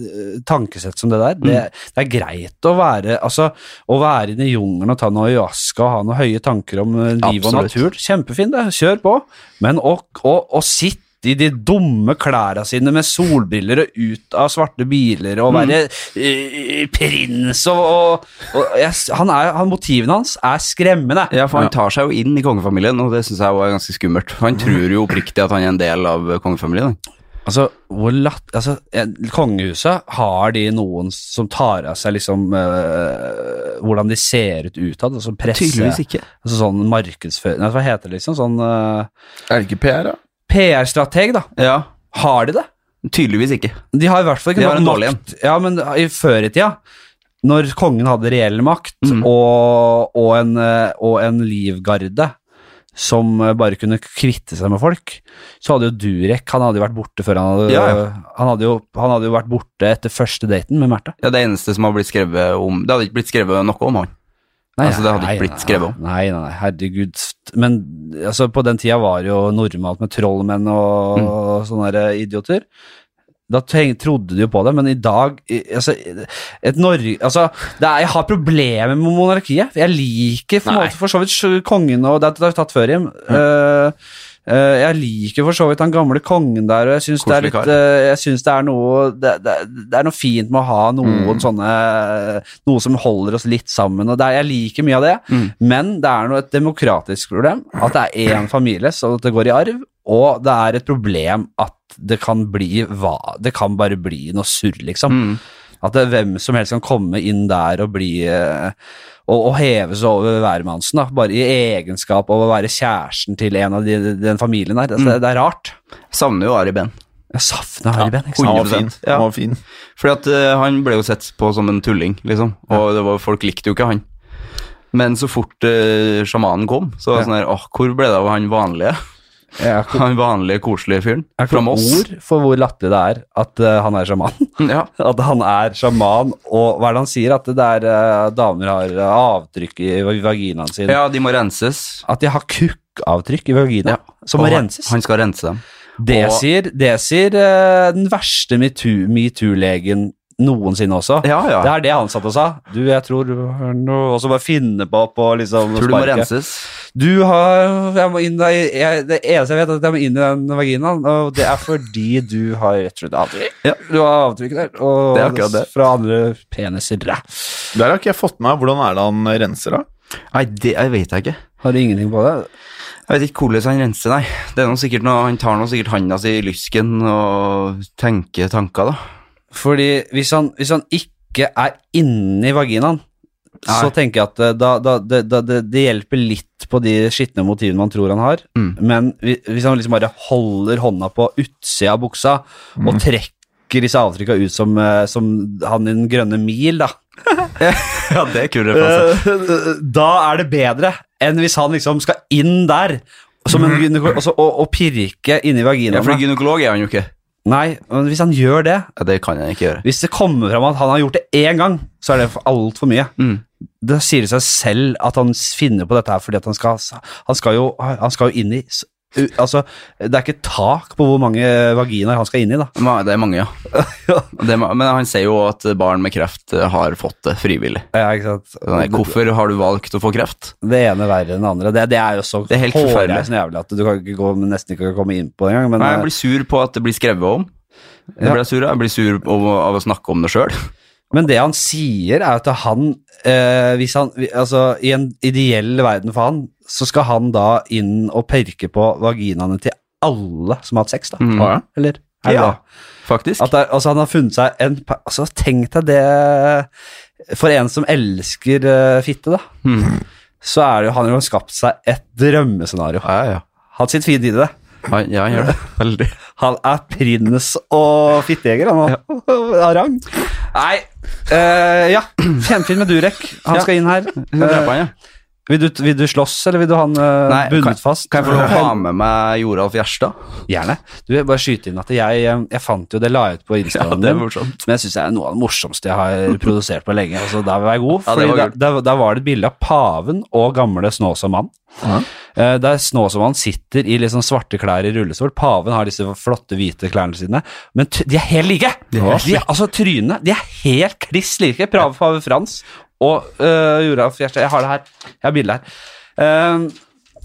tankesett som det der, det,
Mm.
det er greit å være Altså, å være inne i jungelen og ta noe ayahuasca og ha noen høye tanker om eh, liv og
Absolutt.
natur, kjempefint, det. Kjør på. Men å, å, å sitte i de dumme klærne sine med solbriller og ut av svarte biler og være
Mm.
eh, prins og, og, og jeg, s- han er, han, Motivene hans er skremmende.
Ja, for han tar seg jo inn i kongefamilien, og det syns jeg også er ganske skummelt. For han tror jo oppriktig at han er en del av kongefamilien.
Altså, hvor latt, altså eh, Kongehuset, har de noen som tar av seg liksom eh, hvordan de ser ut utad? Altså presse
ikke.
altså Sånn markedsføring Nei, hva heter det liksom? Sånn eh,
Er det ikke PR, da?
PR-strateg, da.
Ja,
Har de det?
tydeligvis ikke.
De har i hvert fall ikke
De har en dårlig
makt. Ja, men i før i tida, når kongen hadde reell makt
Mhm.
og, og, en, eh, og en livgarde som eh, bare kunne kvitte seg med folk, så hadde jo Durek Han hadde jo vært borte før han hadde
Ja, ja.
Han, hadde jo, han hadde jo vært borte etter første daten med Märtha.
Ja, Det eneste som har blitt skrevet om Det hadde ikke blitt skrevet noe om han.
Nei,
Altså, det hadde ikke
nei,
blitt
nei,
skrevet om.
Nei, nei, nei, herregud. Men altså, på den tida var det jo normalt med trollmenn og
Mm.
sånne der idioter. Da tenk, trodde de jo på det, men i dag i- altså, et Norge, altså, det er, Jeg har problemer med monarkiet. Jeg liker for,
Nei. Mm.
måte, for så vidt sj- kongen og Det er- det er tatt før hjem. Eh, eh, jeg liker for så vidt han gamle kongen der, og jeg syns det er litt
Koselig kar.
eh, Jeg synes det er noe det, det, det er noe fint med å ha
Mm.
noen sånne Noe som holder oss litt sammen, og det er, jeg liker mye av det.
Mm.
Men det er nå et demokratisk problem at det er én familie, så det går i arv. Og det er et problem at det kan bli hva Det kan bare bli noe surr, liksom.
Mm.
At det, hvem som helst kan komme inn der og bli eh, og, og heve seg over hvermannsen, da. Bare i egenskap av å være kjæresten til en av de, den familien der.
Mm.
Altså, det, det er rart.
Savner jo Ari Behn.
Jeg savner Harry Behn, ikke sant.
Han var fin.
100%, ja.
Han var fin.
Fordi at eh, han ble jo sett på som en tulling, liksom. Og det var, folk likte jo ikke han. Men så fort eh, sjamanen kom, så var det sånn her Åh, hvor ble det av han vanlige?
Jeg er ikke-
Han vanlige, koselige fyren
jeg er ikke
fra Moss.
ord for hvor latterlig det er at eh, han er sjaman.
Ja.
At han er sjaman, og hva er det han sier? At det der eh, damer har eh, avtrykk i vaginaen sin.
ja, de må renses.
At de har kukkavtrykk i vaginaen, som må
Og han-
renses.
Han skal rense dem.
det,
og-
sier, det sier eh, den verste metoo- metoo-legen noensinne også.
Ja, ja.
Det er det han satt og sa. Du, jeg tror du har noe Og så bare finne på på liksom
Tror du må
sparket.
renses.
Du har Jeg må inn i jeg, Det eneste jeg vet, er at jeg må inn i den vaginaen, og det er fordi du har rett og slett avtrykk.
Ja.
Du har avtrykk der, og
Det er akkurat det.
fra andre peniser. Ræ.
Der har ikke jeg fått med meg hvordan er det han renser, da?
Nei, det jeg vet jeg ikke.
Har du ingenting på det?
Jeg vet ikke hvordan han renser, nei. Det er noe sikkert noe, Han tar noe sikkert handa si i lysken og tenker tanker, da.
Fordi hvis han, hvis han ikke er inni vaginaen, så
Nei.
tenker jeg at eh, da, da, det- da, det, det hjelper litt på de skitne motivene man tror han har,
Mm.
men hvi- hvis han liksom bare holder hånda på utsida av buksa og trekker disse avtrykka ut som, eh, som han i Den grønne mil, da,
Ja, det er kul
Eh, da er det bedre enn hvis han liksom skal inn der som en gynekolog og, så- og, og pirke inni
Eh, Ja, for
vaginaen.
gynekolog er han jo ikke.
Nei, men hvis han gjør det
Ja, det kan jeg ikke gjøre.
Hvis det kommer fram at han har gjort det én gang, så er det altfor mye.
Mm.
Det sier det seg selv at han s- finner på dette her fordi at han skal, han skal, jo, han skal jo inn i s- u- Altså, det er ikke tak på hvor mange vaginaer han skal inn i, da.
Ma- Det er mange, ja. Det er, ma- men han sier jo at barn med kreft eh, har fått det frivillig.
Ja, ikke sant?
Sånn her,
Det,
Hvorfor har du valgt å få kreft?
det ene verre enn det andre. Det, det er jo så
Det er helt forferdelig.
hårreisende jævlig at du kan ikke gå, nesten ikke komme inn på det engang. Men eh,
Nei, jeg blir sur på at det blir skrevet om. Det
Ja.
blir jeg sur av. Jeg blir sur av, å- av å snakke om det sjøl.
Men det han sier er at han, eh, hvis han altså, I en ideell verden for han, så skal han da inn og perke på vaginaene til alle som har hatt sex, da.
Mm.
Å, ja.
Eller? Er det
Ja.
det?
Faktisk.
At det, er- altså, han har funnet seg en pa- altså, Tenk deg det For en som elsker eh, fitte, da,
Mm.
så er det jo han har jo skapt seg et drømmescenario.
Ja, ja.
Han sitter fint i det.
Han, ja, han gjør det. Veldig.
Han er prins og fittejeger, han òg. Av rang. Nei eh, Ja, kjempefint med Durek. Han
Ja.
skal inn her.
Jeg skal drepe han, ja.
Vil du, vil du slåss, eller vil du ha den eh,
Nei,
bundet
kan-
fast?
Kan jeg få lov å ha med meg Joralf Gjerstad?
Gjerne. Du, jeg bare skyte inn at jeg, eh, jeg fant jo det la jeg ut på Instagram
det er
min,
morsomt.
men jeg syns det er noe av det morsomste jeg har produsert på lenge. Altså, der vil jeg være god,
Ja, det
fordi
var
da-
kult.
da, da var det et bilde av paven og gamle Snåsom mann. Eh, Der Snåsom mann sitter i liksom svarte klær i rullestol. Paven har disse flotte hvite klærne sine, men t de er helt like!
De er helt
De er- altså, trynene De er helt kliss like. Prave pave Frans og uh, Joralf Gjerstad. Jeg har det her. Jeg har bildet her. Eh,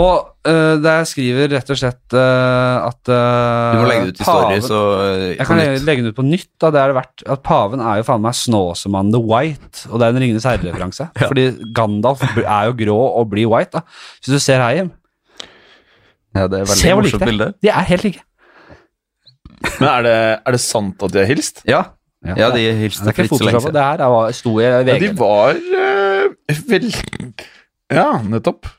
og uh, der skriver rett og slett eh, at eh,
Du må legge det ut i story,
paven-
så eh,
Jeg
på
kan
nytt.
legge den ut på nytt. da, det er det verdt. At Paven er jo faen meg Snåsamannen the White, og det er en Ringenes herre-referanse. Fordi Gandalf bl- er jo grå og blir white. da. Hvis du ser her hjem,
Ja, det er
se
et veldig
hvor like
morsomt
det
bilde.
er. De er helt like.
Men er det, er det sant at de har hilst?
Ja. ja, de
det
hilste
er ikke
Fritz så lenge
Photoshop.
siden.
Det her er, hva- sto i
Ja, de
VG.
var eh, vel Ja, nettopp.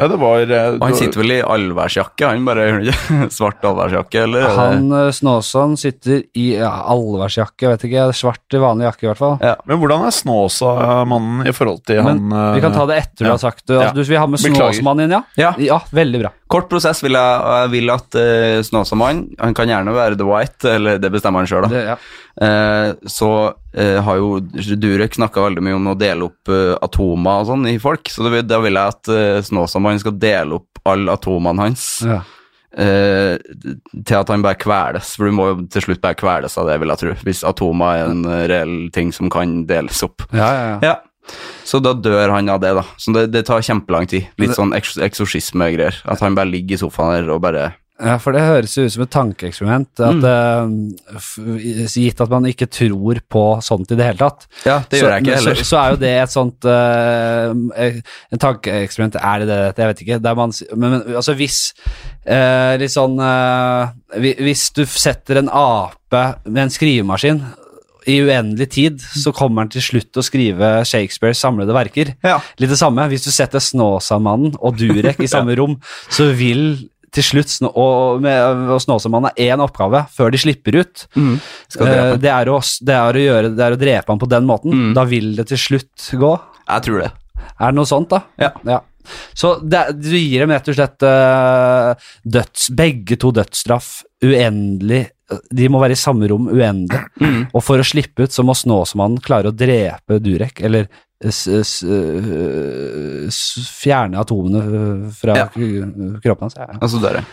Ja, det var eh,
Og han sitter vel i allværsjakke, han bare gjør han ikke? Svart allværsjakke, eller?
Han eh, Snåsan sitter i ja, allværsjakke, jeg vet ikke, svart vanlig jakke i hvert fall.
Men hvordan er Snåsa-mannen i forhold til
Men
han eh,
vi kan ta det etter du
ja.
har sagt det. Altså,
Ja.
Du vil ha med
Beklager.
Snåsmannen inn, ja?
Ja.
veldig bra.
Kort prosess vil jeg, og jeg vil at uh, Snåsamann, han kan gjerne være The White, eller det bestemmer han sjøl, da.
Det, ja.
Eh, så eh, har jo Durek snakka veldig mye om å dele opp eh, atomer og sånn i folk, så det, vil- da vil jeg at eh, Snåsamann skal dele opp alle atomene hans
Ja.
eh, til at han bare kveles, for du må jo til slutt bare kveles av det, vil jeg tro, hvis atomer er en eh, reell ting som kan deles opp.
Ja, ja, ja.
Ja. Så da dør han av det, da. Så det, det tar kjempelang tid. Litt sånn eks eksorsisme-greier. At han bare ligger i sofaen der og bare
ja, for det høres jo ut som et tankeeksperiment. At,
Mm.
eh, f- gitt at man ikke tror på sånt i det hele tatt.
Ja, det gjør
så,
jeg ikke
men
heller.
Så, så er jo det et sånt eh, eh, En tankeeksperiment, er det det? Jeg vet ikke. Der man, s- men, men altså hvis eh, Litt sånn eh, hvi- Hvis du setter en ape med en skrivemaskin i uendelig tid, så kommer den til slutt til å skrive Shakespeares samlede verker.
Ja.
Litt det samme. Hvis du setter Snåsamannen og Durek i samme rom, så vil til slutt Snå- og, med- og Snåsamannen har én oppgave før de slipper ut.
Mm. Skal drepe
Eh,
han.
det, er å, det, er å gjøre, det er å drepe han på den måten.
Mm.
Da vil det til slutt gå.
Jeg tror det.
Er det noe sånt, da?
Ja.
Så det, er- du gir dem rett og slett eh, døds, begge to dødsstraff uendelig De må være i samme rom uendelig. Og for å slippe ut, så må Snåsmannen klare å drepe Durek, eller s s s fjerne atomene fra
Ja.
k- kroppen hans. Ja, ja.
Og så dør jeg.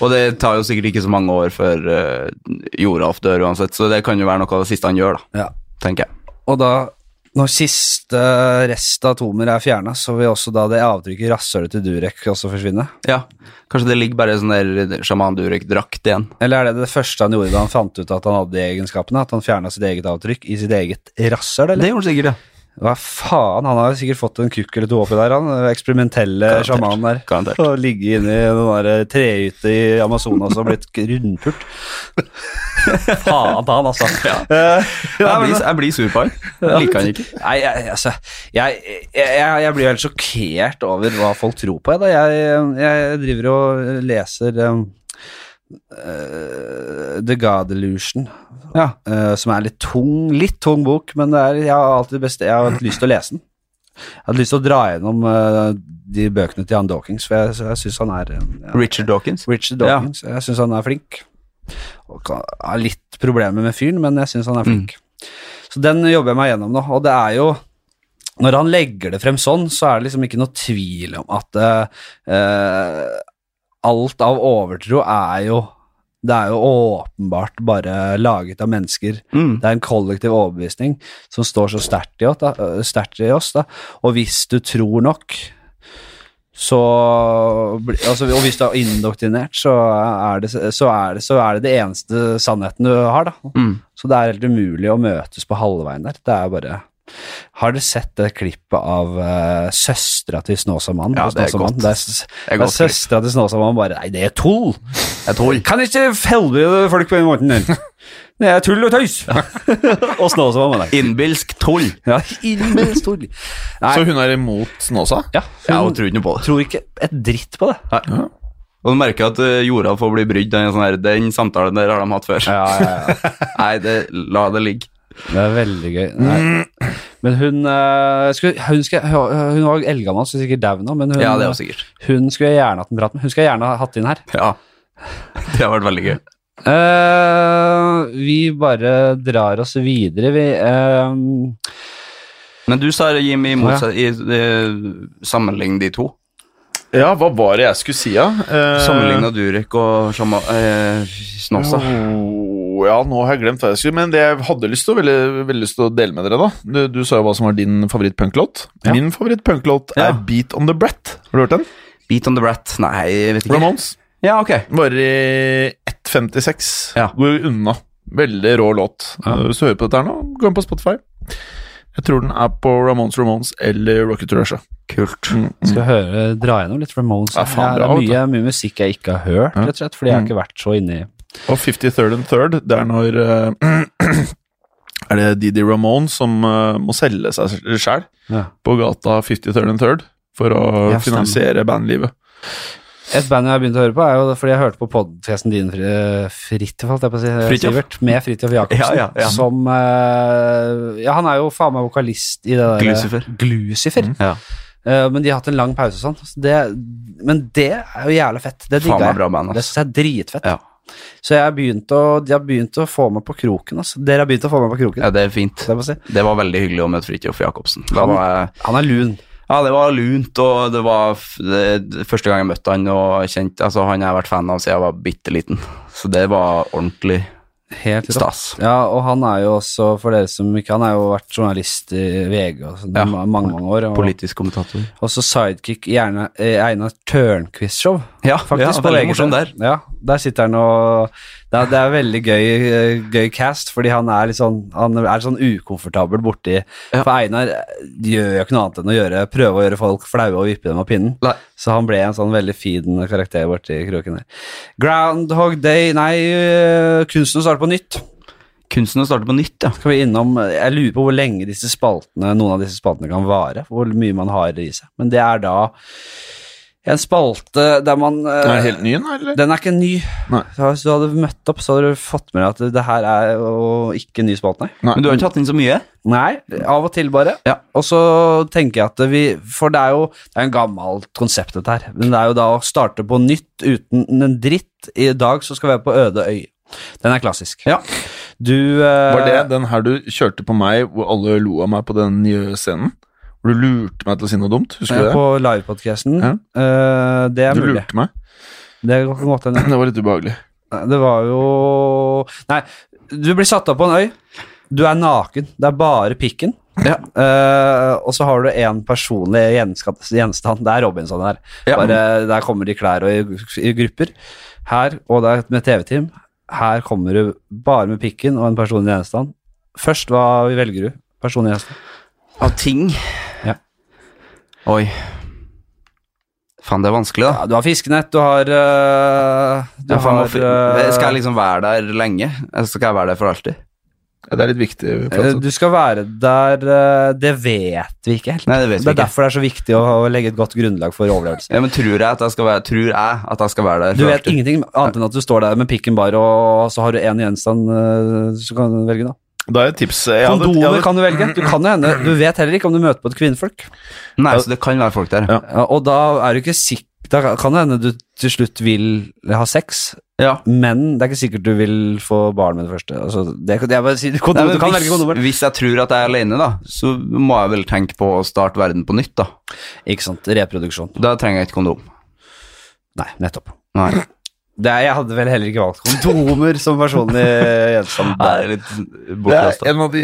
Og det tar jo sikkert ikke så mange år før eh, Joralf dør uansett, så det kan jo være noe av det siste han gjør, da.
Ja.
Tenker jeg.
Og da, når siste rest av atomer er fjerna, så vil også da det avtrykket i rasshølet til Durek også forsvinne?
Ja. Kanskje det ligger bare sånn der sjaman Durek-drakt igjen.
Eller er det det første han gjorde da han fant ut at han hadde de egenskapene? At han fjerna sitt eget avtrykk i sitt eget rasshøl, eller?
Det gjorde han sikkert, ja.
Hva faen, han har sikkert fått en kukk eller to oppi der, han den eksperimentelle
Garantert.
sjamanen der.
Garantert.
Og ligge inne i den der trehytte i Amazonas og blitt rundpult. faen ta han, altså. Eh, ja, men-
Jeg blir, jeg blir sur på han. Jeg liker han ikke.
Nei, jeg, altså, jeg, jeg, jeg, jeg blir helt sjokkert over hva folk tror på. Jeg, da. jeg, jeg driver og leser um, eh, The God Illusion,
Ja.
eh, som er en litt tung, litt tung bok, men det er, jeg har alltid best, jeg har hatt lyst til å lese den. Jeg hadde lyst til å dra gjennom eh, de bøkene til Jan Dawkins, for jeg, jeg syns han er eh, ja.
Richard Dawkins.
Richard Dawkins. Jeg syns han er flink. Og kan, har litt problemer med fyren, men jeg syns han er flink. Så den jobber jeg meg gjennom nå, og det er jo Når han legger det frem sånn, så er det liksom ikke noe tvil om at eh, eh, alt av overtro er jo det er jo åpenbart bare laget av mennesker.
Mm.
Det er en kollektiv overbevisning som står så sterkt i, oss, da, øh, sterkt i oss. Da. Og hvis du tror nok, så bli- altså, Og hvis du er indoktrinert, så er, det, så, er det, så er det det eneste sannheten du har, da.
Mm.
Så det er helt umulig å møtes på halvveien der. Det er bare Har dere sett det klippet av uh, søstera til Snåsamannen?
Ja,
Og
det er
Snåsamannen?
godt.
Det er, s-
er
det er
godt klipp.
søstera til Snåsamannen bare Nei, det er tull!
Jeg tror
Kan ikke helvete folk på den måten der. Det er tull og tøys. og Snåsamannen bare, nei.
Innbilsk tull.
Ja, innbilsk tull. Nei,
Så hun er imot Snåsa?
ja,
Ja,
hun
hun tror ikke noe på det.
tror ikke et dritt på det.
Nei. Og du merker at eh, jorda får bli brydd. Den, er sånn her, den samtalen der har de hatt før.
Ja, ja, ja.
Nei, det, la det ligge.
Det er veldig gøy. Nei.
Mm.
Men hun eh, skulle, hun, skal, hun var eldgammel, så sikkert dau nå, men hun,
Ja, det er jo sikkert.
hun skulle jeg gjerne hatt en prat med. Hun skulle jeg gjerne ha hatt inn her.
Ja. Det har vært veldig gøy.
Eh, vi bare drar oss videre, vi. eh,
Men du sa, Jimmy, imot,
Å,
i, eh, sammenlign de to.
Ja, hva var det jeg skulle si, ja? Eh,
Sammenligna Durek og Shama, eh, Snåsa.
Jo, Oh, ja, nå har jeg glemt hva jeg skulle Men det jeg hadde lyst til, å- veldig, veldig lyst til å dele med dere, da Du, du sa jo hva som var din favoritt-punklåt.
Ja.
Min favoritt-punklåt er
Ja.
Beat on the Brett. Har du hørt den?
Beat on the Brat. Nei, jeg vet ikke.
Ramones.
Ja, ok.
Varer i 1.56.
Ja.
Går unna. Veldig rå låt. Eh, Hvis du hører på dette her nå, gå inn på Spotify. Jeg tror den er på Ramones Ramones eller Rocket to Russia.
Kult.
Mm.
Skal høre, dra gjennom litt Ramones.
Ja, faen,
det
bra,
er
vet du.
mye, mye musikk jeg ikke har hørt,
Ja.
rett og slett, fordi jeg har ikke vært så inne i
Og 53rd and 3rd, det er når eh, Er det Didi Ramone som eh, må selge seg sjæl
ja.
på gata 53rd and 3rd for å
Ja, stemmer.
finansiere bandlivet.
Et band jeg har begynt å høre på, er jo det- fordi jeg hørte på podkasten din, Fri- eh, Fridtjof, holdt jeg på å si, eh,
Fridtjof.
Sivert, med Fridtjof Jacobsen,
Ja, ja, ja.
som eh, Ja, han er jo faen meg vokalist i det der
Glucifer.
Glucifer.
Ja.
Eh, men de har hatt en lang pause og sånn. så Det, men det er jo jævlig fett. Det
Faen
digga
meg
jeg.
bra band,
Det
ass.
synes jeg er dritfett.
Ja.
Så jeg har begynt å, de har begynt å få meg på kroken, altså. Dere har begynt å få meg på kroken.
ja, det er fint.
holdt jeg på å si.
Det var veldig hyggelig å møte Fridtjof Jacobsen. Da
Han-
var jeg,
Han er lun.
ja, det var lunt, og det var f det, første gang jeg møtte han, og kjente, altså han jeg har vært fan av siden jeg var bitte liten. Så det var ordentlig
Helt rått.
stas.
Ja, og han er jo også, for dere som ikke Han har jo vært journalist i VG og sånn,
Ja.
i ma- mange mange år. Og,
Politisk kommentator.
og så sidekick i Erne- eh, Einar Tørnquist-show,
Ja,
faktisk.
ja
på
veldig
VG.
morsom der.
Ja, der sitter han og Det er, det er veldig gøy, eh, gøy cast, fordi han er litt sånn Han er sånn ukomfortabel borti
Ja.
For Einar eh, gjør jo ikke noe annet enn å gjøre, prøve å gjøre folk flaue og vippe dem av pinnen.
Nei.
Så han ble en sånn veldig fin karakter borti kroken der. Groundhog Day Nei, eh, kunsten å starte på nytt.
Kunsten å starte på nytt, ja.
Skal vi innom, Jeg lurer på hvor lenge disse spaltene, noen av disse spaltene kan vare. Hvor mye man har i seg. Men det er da en spalte der man eh,
Er det helt ny nå, eller?
Den er ikke ny.
Nei.
Så Hvis du hadde møtt opp, så hadde du fått med deg at det her er jo ikke en ny spalte, nei.
Nei.
Men du har ikke hatt inn så mye?
Nei, av og til bare.
Ja.
Og så tenker jeg at vi For det er jo det er en gammelt konsept, dette her. Men det er jo da å starte på nytt uten en dritt. I dag så skal vi være på øde øy. Den er klassisk.
Ja.
Du eh,
Var det den her du kjørte på meg, hvor alle lo av meg på den nye scenen? Hvor du lurte meg til å si noe dumt? Husker du det?
På livepodcasten.
Ja.
Eh, det er
Du
mulig.
lurte meg.
Det kan godt hende.
Det var litt ubehagelig.
Nei, Det var jo Nei, du blir satt opp på en øy. Du er naken. Det er bare pikken.
Ja.
Eh, og så har du én personlig gjenska- gjenstand. Det er Robinson her.
Ja.
Bare, der kommer de klær og i, i grupper. Her, og det er med TV-team. Her kommer du bare med pikken og en personlig gjenstand. Først, hva velger du? Personlig gjenstand.
Av ting?
Ja.
Oi. Faen, det er vanskelig, da.
Ja, du har fiskenett, du har eh, Du
Ja, faen,
har
hvorfor-
eh,
skal jeg liksom være der lenge? Eller Skal jeg være der for alltid?
Ja, Det er litt viktig.
Eh,
Plass.
Du skal være der eh, Det vet vi ikke helt.
Nei, det vet
Det
vi
er
ikke.
derfor det er så viktig å å legge et godt grunnlag for overlevelse.
Ja, men tror jeg at jeg skal være, tror jeg at jeg skal være der
Du
for
vet
alltid?
ingenting annet enn at du står der med pikken bar, og så har du én gjenstand eh, som du kan velge, da.
Da er et tips. Jeg hadde- jeg
Kondomer
hadde-
kan du velge. Du kan jo hende Du vet heller ikke om du møter på et kvinnfolk.
Nei, så det kan være folk der.
Ja.
Ja, Og da er du ikke sikker Da kan det hende du til slutt vil ha sex,
Ja.
men det er ikke sikkert du vil få barn med det første. Altså, det, det er bare å si,
Nei,
kondom,
men
du kan
hvis,
velge kondomer.
hvis jeg tror at jeg er alene, da, så må jeg vel tenke på å starte verden på nytt, da.
Ikke sant. Reproduksjon.
Da trenger jeg ikke kondom.
Nei, nettopp.
Nei,
Det er, jeg hadde vel heller ikke valgt kondomer som personlig gjenstand.
det er litt
Det er
bortkastet.
en av de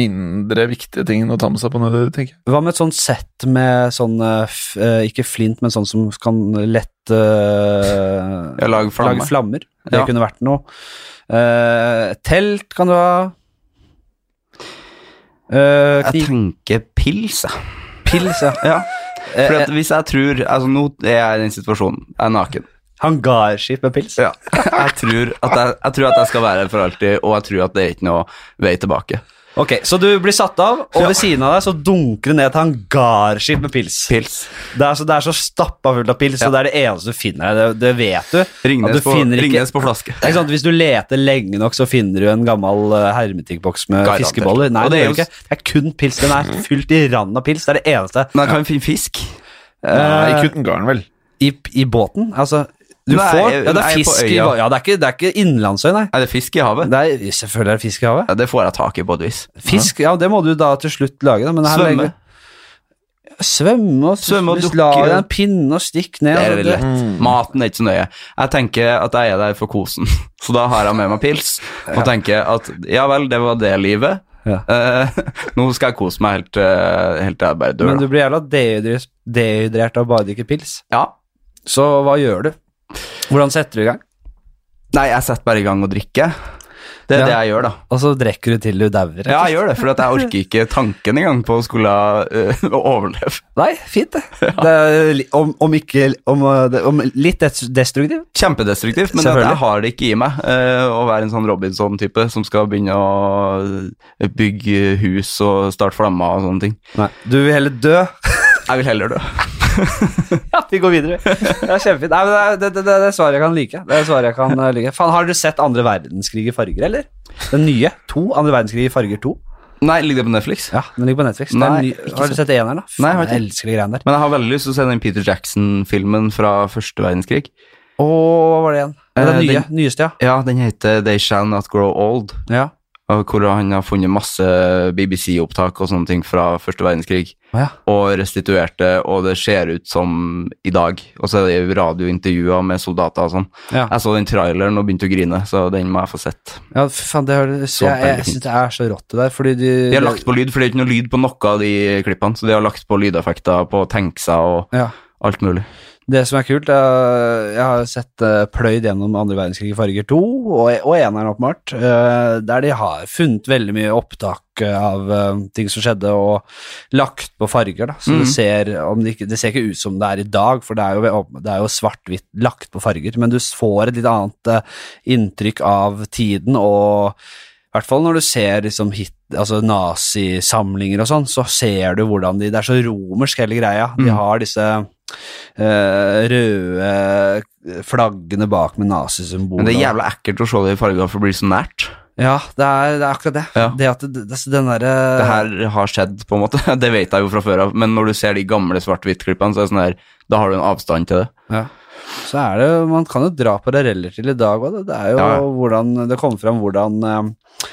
mindre viktige tingene å ta med seg på nødvendig, tenker jeg.
Hva med et sånt sett med sånn eh, f- eh, Ikke flint, men sånn som kan lette eh,
Jeg lager
Lage
flamme.
flammer. Det
Ja.
kunne vært noe. Eh, telt kan du ha. Eh,
Jeg
kniv,
tenker pils, jeg.
pils, ja.
Ja. For
Eh,
at hvis jeg tror Altså, nå er jeg i den situasjonen. Jeg er naken.
hangarskip med pils.
Ja. Jeg tror at jeg, jeg, tror at jeg skal være her for alltid, og jeg tror at det er ikke noe vei tilbake.
Ok, Så du blir satt av, og ved siden av deg så dunker det ned et hangarskip med pils.
Pils.
Det er så, det er så stappa fullt av pils, og det er det eneste du finner her. Det, det vet du.
Ringnes,
At du
på,
finner ikke-
ringnes på flaske.
Det er ikke sant, Hvis du leter lenge nok, så finner du en gammel eh, hermetikkboks med
Garantert.
fiskeboller. Nei,
Og
det
det er
gjør du
jo- Mhm.
ikke. Det er kun pils. Den er fylt i rand av pils. Det er det eneste.
Men jeg kan finne fisk.
Eh,
Nei, ikke uten garn, vel.
I, i båten, altså Du
Nei,
får Ja, det
nei,
er
på
fisk i
øya.
ba- Ja, det er ikke, det er ikke innlandsøy, nei.
Er det fisk i havet?
Det er, selvfølgelig er det fisk i havet.
Ja, det får jeg tak i på et vis.
Fisk, ja, det må du da til slutt lage, da. Men her
Svømme.
legger- Svømme og
Svømme og dukke,
La deg
ja.
en pinne og stikk ned.
Det er
altså,
veldig lett. Maten er ikke så nøye. Jeg tenker at jeg er der for kosen, så da har jeg med meg pils og tenker at ja vel, det var det livet.
Ja.
Eh, nå skal jeg kose meg helt, eh, helt til jeg bare dør.
Men
da.
du blir jævla dehydrert, dehydrert av å bare drikke pils.
Ja.
Så hva gjør du? Hvordan setter du i gang?
Nei, jeg setter bare i gang og drikker. Det er
Ja.
det jeg gjør, da.
Og så drikker du til du dauer.
Ja, jeg gjør det, for at jeg orker ikke tanken engang på å skulle eh, overleve.
Nei, fint det. det er, li- om, om ikke om, eh, det- om Litt des- destruktiv.
Kjempedestruktivt, men at
Selvfølgelig.
jeg har det ikke i meg eh, å være en sånn Robinson-type som skal begynne å bygge hus og starte flammer og sånne ting.
Du vil heller dø.
Jeg vil heller dø.
Ja, vi går videre. Det er kjempefint. Nei, men det, er- det, det, det er svaret jeg kan like. Det er svaret jeg kan eh, like. Faen, har dere sett andre verdenskrig i farger, eller? Den nye? To? Andre verdenskrig i farger to?
Nei, ligger det på Netflix?
Ja, den ligger på Netflix.
Nei,
Nei,
ikke
ny, har du sett eneren, da?
Nei, jeg har
Faen, jeg elsker de greiene der.
Men jeg har veldig lyst til å se den Peter Jackson-filmen fra første verdenskrig.
Å, hva var det igjen? Nei, Den
Eh,
nye, nyeste, ja.
Ja, den heter They Shall Not Grow Old,
Ja.
og hvor han har funnet masse BBC-opptak og sånne ting fra første verdenskrig,
Å, ja.
og restituerte, og det ser ut som i dag. Og så er det radiointervjuer med soldater og sånn.
Ja.
Jeg så den traileren og begynte å grine, så den må jeg få sett.
Ja, fy faen, det høres
Så
Jeg, jeg,
veldig
jeg syns det er så rått, det der, fordi de
De har lagt på lyd, for det er ikke noe lyd på noe av de klippene, så de har lagt på lydeffekter på tenkser og
Ja.
alt mulig.
Det som er kult, er, jeg har sett eh, pløyd gjennom andre verdenskrig i farger 2, og, og eneren åpenbart, eh, der de har funnet veldig mye opptak eh, av eh, ting som skjedde, og lagt på farger, da. Så
Mhm.
det, ser, om det, ikke, det ser ikke ut som det er i dag, for det er jo, åpen- det er jo svart-hvitt lagt på farger, men du s- får et litt annet eh, inntrykk av tiden, og i hvert fall når du ser liksom hit, altså nazisamlinger og sånn, så ser du hvordan de Det er så romersk, hele greia. De
Mm.
har disse eh, røde eh, flaggene bak med nazisymboler.
Men det er jævla ekkelt å se det i farger, for det blir så nært.
Ja, det er, det er akkurat det.
Ja.
Det at det, det, den derre
Det her har skjedd, på en måte. Det vet jeg jo fra før av, men når du ser de gamle svart-hvitt-klippene, så er det sånn her, da har du en avstand til det.
ja. Så er det Man kan jo dra paralleller til i dag òg, det. Det er jo
Ja, ja.
hvordan Det kommer fram hvordan eh,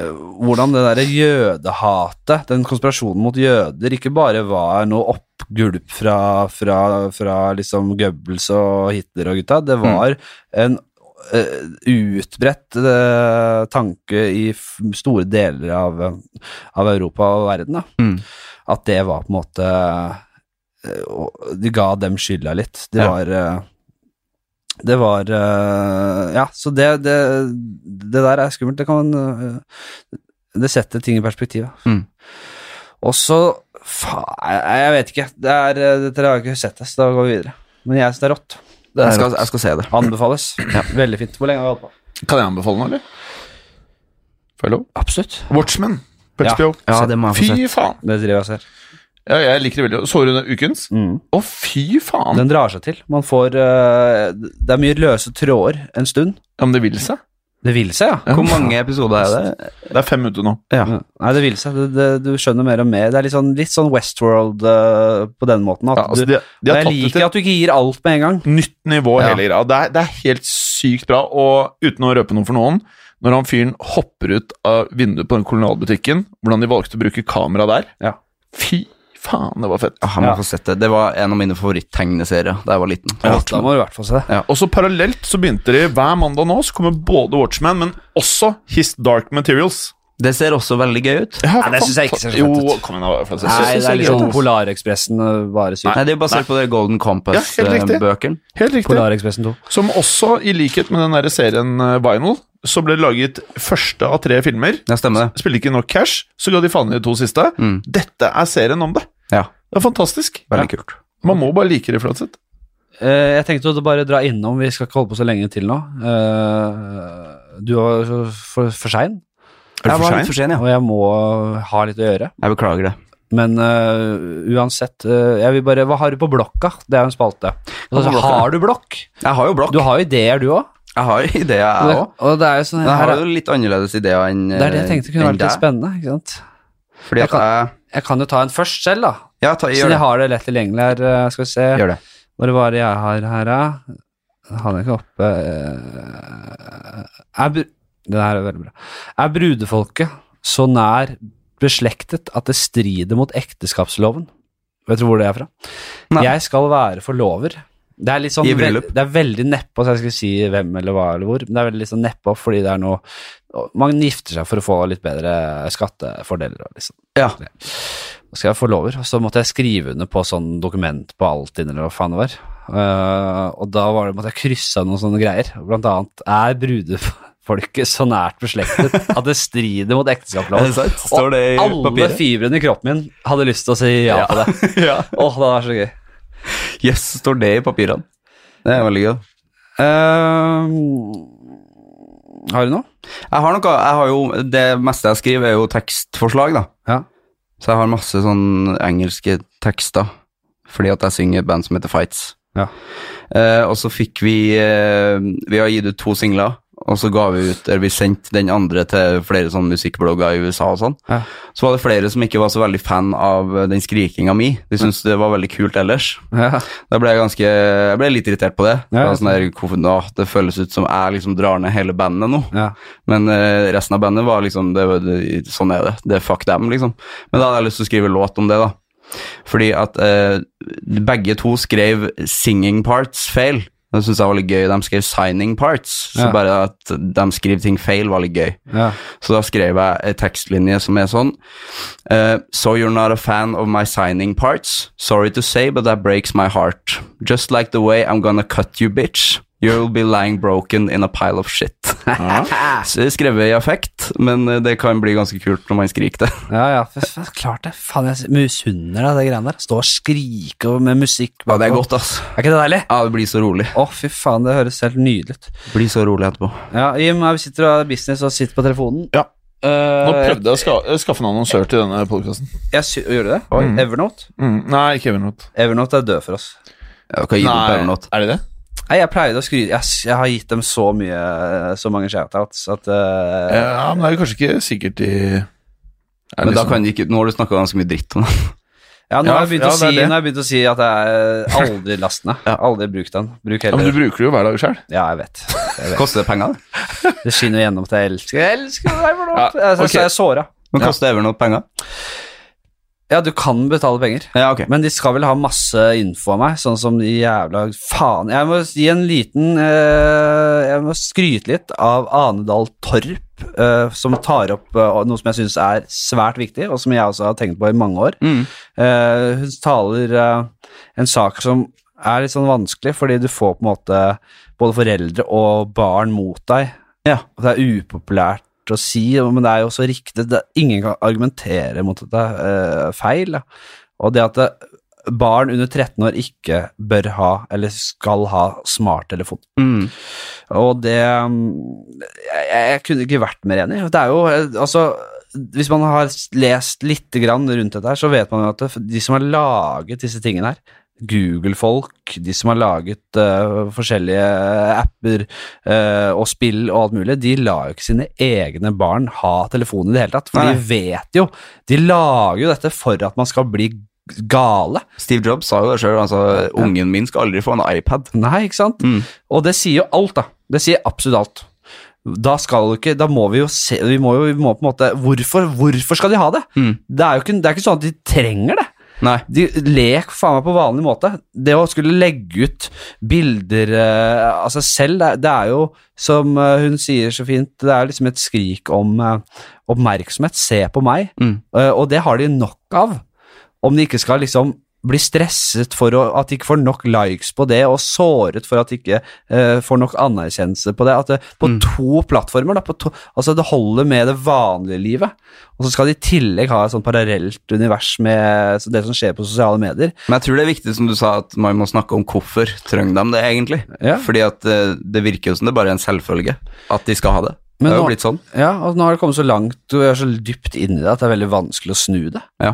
eh, hvordan det derre jødehatet, den konspirasjonen mot jøder, ikke bare var noe oppgulp fra, fra, fra liksom Goebbels og Hitler og gutta,
Mm.
det var en eh, utbredt eh, tanke i f store deler av, eh, av Europa og verden, da.
Mm.
At det var på en måte eh, og De ga dem skylda litt. Det
Ja.
var eh, Det var eh, Ja, så det, det Det der er skummelt. Det kan eh, Det setter ting i perspektiv. da.
Mm.
Og så Faen, jeg jeg vet ikke. Det er, eh, dette har jeg ikke sett, så da går vi videre. Men jeg syns det er rått. Det
Jeg
er
skal,
rått.
jeg skal se det.
Anbefales. Veldig fint. Hvor lenge har vi holdt på?
Kan jeg anbefale den, eller? Får jeg lov?
Absolutt.
Watchmen på
Ja.
HBO.
Ja, det må jeg få
Fy faen!
Det driver jeg og ser.
Ja, jeg liker det veldig. Så du den ukens?
Mm.
Å, fy faen!
Den drar seg til. Man får eh, Det er mye løse tråder en stund.
Ja, men det vil seg.
Det vil seg, ja.
Hvor mange episoder er det?
Det er fem ute nå.
Ja. Nei, det vil seg. Det, det, du skjønner mer og mer. Det er litt sånn, litt sånn Westworld eh, på den måten. At
Ja, altså,
du,
de, de har
jeg
tatt det
liker
til
at du ikke gir alt med en gang.
nytt nivå,
Ja.
hele greia. Det er, det er helt sykt bra, og uten å røpe noe for noen, når han fyren hopper ut av vinduet på den kolonialbutikken, hvordan de valgte å bruke kamera der
Ja.
Fy faen, det var fett.
Ah, jeg må
Ja.
få sett det. Det var en av mine favoritttegneserier da jeg var liten.
Ja, da må du i hvert fall se det.
Og så parallelt så begynte de hver mandag nå, så kommer både Watchmen, men også His Dark Materials.
Det ser også veldig gøy ut.
Nei, det synes jeg ikke ser så fett
jo,
ut.
Jo, kom igjen, da. for å si det.
Nei,
Jeg
det er
synes det
litt
er
sånn
gøy.
Polarekspressen eh, bare sykt.
Nei, det er basert på det Golden eh,
Ja, helt riktig.
Compass-bøkene.
Helt riktig.
Polarekspressen 2.
Som også, i likhet med den der serien eh, Vinyl, så ble det laget første av tre filmer.
Ja, stemmer det.
Spilte ikke nok cash, så ga de faen i de to siste.
Mm.
Dette er serien om det.
Ja,
Det er fantastisk.
veldig kult.
Man må bare like det, Flatseth.
Eh, jeg tenkte å bare dra innom, vi skal ikke holde på så lenge til nå. Eh, du var så- for, for sein,
Er du
Jeg
for
var
sein?
litt for sen, ja.
og jeg må ha litt å gjøre.
Jeg beklager det.
Men øh, uansett, øh, jeg vil bare Hva har du på blokka? Det er jo en spalte.
Hva på
Altså,
blokka?
har du blokk?
Jeg har jo blokk.
Du har jo ideer, du òg.
Jeg har ideer, jeg òg.
Og det er jo sånn
Men jeg
her,
har jo litt annerledes ideer enn eh,
Det er det jeg tenkte kunne
enn
vært litt
deg.
spennende. Ikke sant?
Fordi
Jeg
at jeg
Jeg kan jo ta en først selv, da.
Ja, ta,
Siden
gjør
jeg
det.
har det lett tilgjengelig her. øh, Skal vi se
Gjør det.
hvor det var det jeg har her, da. Hadde jeg ikke oppe øh, er bru- Den her er veldig bra. Er brudefolket så nær beslektet at det strider mot ekteskapsloven? Vet du hvor det er fra?
Nei.
Jeg skal være forlover. Det er litt sånn
I
vel,
bryllup.
det er veldig neppe, så jeg skal si hvem eller hva eller hvor, men det er veldig sånn neppe fordi det er noe Man gifter seg for å få litt bedre skattefordeler. og Liksom.
Ja.
Nå skal jeg forlover, og så måtte jeg skrive under på sånn dokument på Altinn eller hva faen det var. Eh, og da var det, måtte jeg krysse av noen sånne greier. Blant annet er brudefolket så nært beslektet at det strider mot
Er det
ekteskapsloven.
sant? Står det i
Og alle
papiret?
fibrene i kroppen min hadde lyst til å si ja,
Ja.
på det.
Ja.
Åh, det var så gøy.
Yes, står det i papirene. Det er veldig gøy.
Ehm, Eh, har du noe?
Jeg har noe, jeg har jo, det meste jeg skriver er jo tekstforslag da.
Ja.
Så jeg har masse sånn engelske tekster fordi at jeg synger i et band som heter Fights.
Ja.
Eh, og så fikk vi eh, Vi har gitt ut to singler, og så ga vi ut Eller vi sendte den andre til flere sånne musikkblogger i USA og sånn.
Ja.
Så var det flere som ikke var så veldig fan av eh, den skrikinga mi. De syntes det var veldig kult ellers.
Ja.
Da ble jeg ganske Jeg ble litt irritert på det.
Ja.
Det, var sånn der, hvorfor, da, det føles ut som jeg liksom drar ned hele bandet nå.
Ja.
Men eh, resten av bandet var liksom det, var- det, Sånn er det. Det er fuck dem, liksom. Men da hadde jeg lyst til å skrive låt om det, da. Fordi at eh, begge to skrev 'singing parts' feil. Det syns jeg var litt gøy. De skrev 'signing parts', så
Ja.
bare at de skriver ting feil, var litt gøy.
Ja.
Så da skrev jeg en tekstlinje som er sånn eh, So you're not a fan of my signing parts. Sorry to say, but that breaks my heart. Just like the way I'm gonna cut you, bitch. You'll be lying broken in a pile of shit. Så det er skrevet i affekt, men eh, det kan bli ganske kult når man skriker det.
Ja, ja, for, for, klart det. Faen, jeg misunner deg det greiene der. Stå og skrike og- med musikk
Ja, det er
bakpå.
godt, ass.
Er ikke det deilig?
Ja, det blir så rolig.
Å, fy faen, det høres helt nydelig ut.
Blir så rolig etterpå.
Ja, Jim, her vi sitter og er business og sitter på telefonen.
Ja.
Eh,
Nå prøvde jeg å ska eh, skaffe en annonsør til denne podkasten.
jeg sy Gjorde du det? Oi,
Mm.
Evernote?
Mm. Nei, ikke Evernote.
Evernote er død for oss.
Ja, kan gi opp Evernote.
er det det?
Nei, jeg pleide å skryte jeg, s- jeg har gitt dem så mye eh, Så mange shoutouts at eh,
Ja, men det er jo kanskje ikke sikkert de liksom-
Men da kan de ikke, nå har du snakka ganske mye dritt om det.
Ja, nå
Ja,
har jeg begynt
ja,
å si
det er det.
Nå har jeg begynt å si at jeg eh, aldri last ned. Aldri bruk den. Bruk
ja, Men du
heller
bruker det jo hver dag sjøl.
Ja, jeg vet. Jeg vet.
Koster det penger? det?
Det skinner gjennom at jeg elsker Jeg elsker deg for noe!
Ja,
Jeg,
ok.
så jeg er såra.
Men koster Evernote penger?
Ja, du kan betale penger.
Ja, ok.
Men de skal vel ha masse info av meg, sånn som de jævla Faen. Jeg må gi en liten eh, Jeg må skryte litt av Anedal Torp, eh, som tar opp eh, noe som jeg syns er svært viktig, og som jeg også har tenkt på i mange år.
Mm.
Eh, hun taler eh, en sak som er litt sånn vanskelig, fordi du får på en måte både foreldre og barn mot deg.
Ja.
Og Det er upopulært å si, men det er jo også riktig. Det, ingen kan argumentere mot at det er eh, feil. Da. Og det at det, barn under 13 år ikke bør ha, eller skal ha, smarttelefon.
Mm.
Og det mm, jeg, jeg kunne ikke vært mer enig. Det er jo eh, Altså, hvis man har s- lest litt grann rundt dette her, så vet man jo at det- de som har laget disse tingene her Google-folk, de som har laget eh, forskjellige apper eh, og spill og alt mulig, de lar jo ikke sine egne barn ha telefon i det hele tatt. For
Nei.
de vet jo De lager jo dette for at man skal bli gale.
Steve Jobs sa jo det sjøl, altså ungen min skal aldri få en iPad.
Nei, ikke sant?
Mm.
Og det sier jo alt, da. Det sier absolutt alt. Da skal jo ikke Da må vi jo se Vi må jo vi må på en måte Hvorfor, hvorfor skal de ha det?
Mm.
Det er jo ikke, det er ikke sånn at de trenger det.
Nei.
De Lek faen meg på vanlig måte. Det å skulle legge ut bilder eh, altså selv, det, er- det er jo som eh, hun sier så fint, det er liksom et skrik om eh, oppmerksomhet. Se på meg.
Mm.
Eh, og det har de nok av. Om de ikke skal liksom bli stresset for å, at de ikke får nok likes på det, og såret for at de ikke eh, får nok anerkjennelse på det. At det på
Mm.
to plattformer, da, på to, altså det holder med det vanlige livet, og så skal de i tillegg ha et sånn parallelt univers med så det som skjer på sosiale medier.
Men jeg tror det er viktig, som du sa, at man må snakke om hvorfor trenger de det egentlig.
Ja.
Fordi at eh, det virker jo som det bare er en selvfølge at de skal ha det.
Men
det har
nå-
jo blitt sånn.
Ja, og nå har det kommet så langt, du er så dypt inn i det, at det er veldig vanskelig å snu det.
Ja.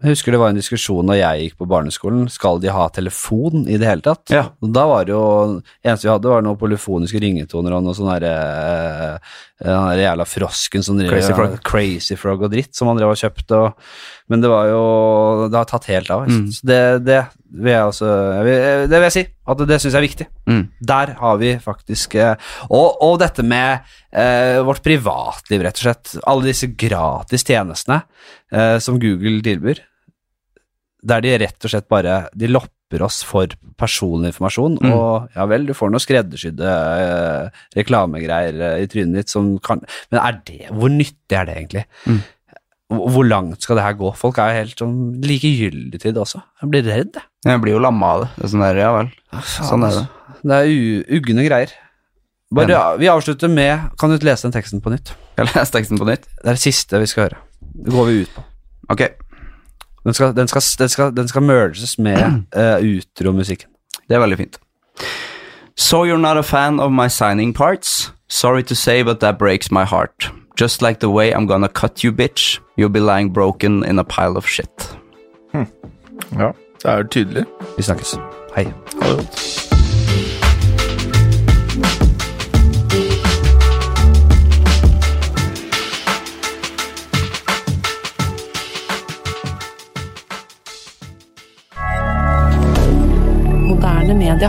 Jeg husker det var en diskusjon når jeg gikk på barneskolen, skal de ha telefon i det hele tatt?
Ja.
Og Da var det jo Eneste vi hadde, var noen polifoniske ringetoner og noe sånn derre Den der jævla frosken som driver
Crazy Frog.
Crazy Frog og dritt som han drev og kjøpte og Men det var jo Det har tatt helt av. altså.
Mm.
Så det, det vil jeg også jeg vil, Det vil jeg si. At det syns jeg er viktig.
Mm.
Der har vi faktisk eh, Og, og dette med eh, vårt privatliv, rett og slett. Alle disse gratis tjenestene eh, som Google tilbyr, der de rett og slett bare De lopper oss for personlig informasjon,
Mm.
og ja vel, du får noe skreddersydde eh, reklamegreier eh, i trynet ditt som kan Men er det Hvor nyttig er det egentlig?
Mm.
Hvor hvor langt skal det her gå? Folk er jo helt sånn likegyldige til det også. Jeg blir redd, jeg.
Jeg blir jo lamma av det. det er sånn der, ja vel.
Ah,
Sånn
altså.
er det.
Det er u- ugne greier. Bare, vi avslutter med Kan du lese den teksten på nytt?
Jeg leser teksten på nytt.
Det er det siste vi skal høre. Det går vi ut på.
Ok.
Den skal, den skal, den skal, den skal merges med uh, utromusikken.
Det er veldig fint. So you're not a fan of my signing parts? Sorry to say, but that breaks my heart. Just like the way I'm gonna cut you, bitch. You'll be lying broken in a pile of shit.
Ja. Det er jo tydelig.
Vi snakkes. Hei.
Ha det godt.
Moderne media.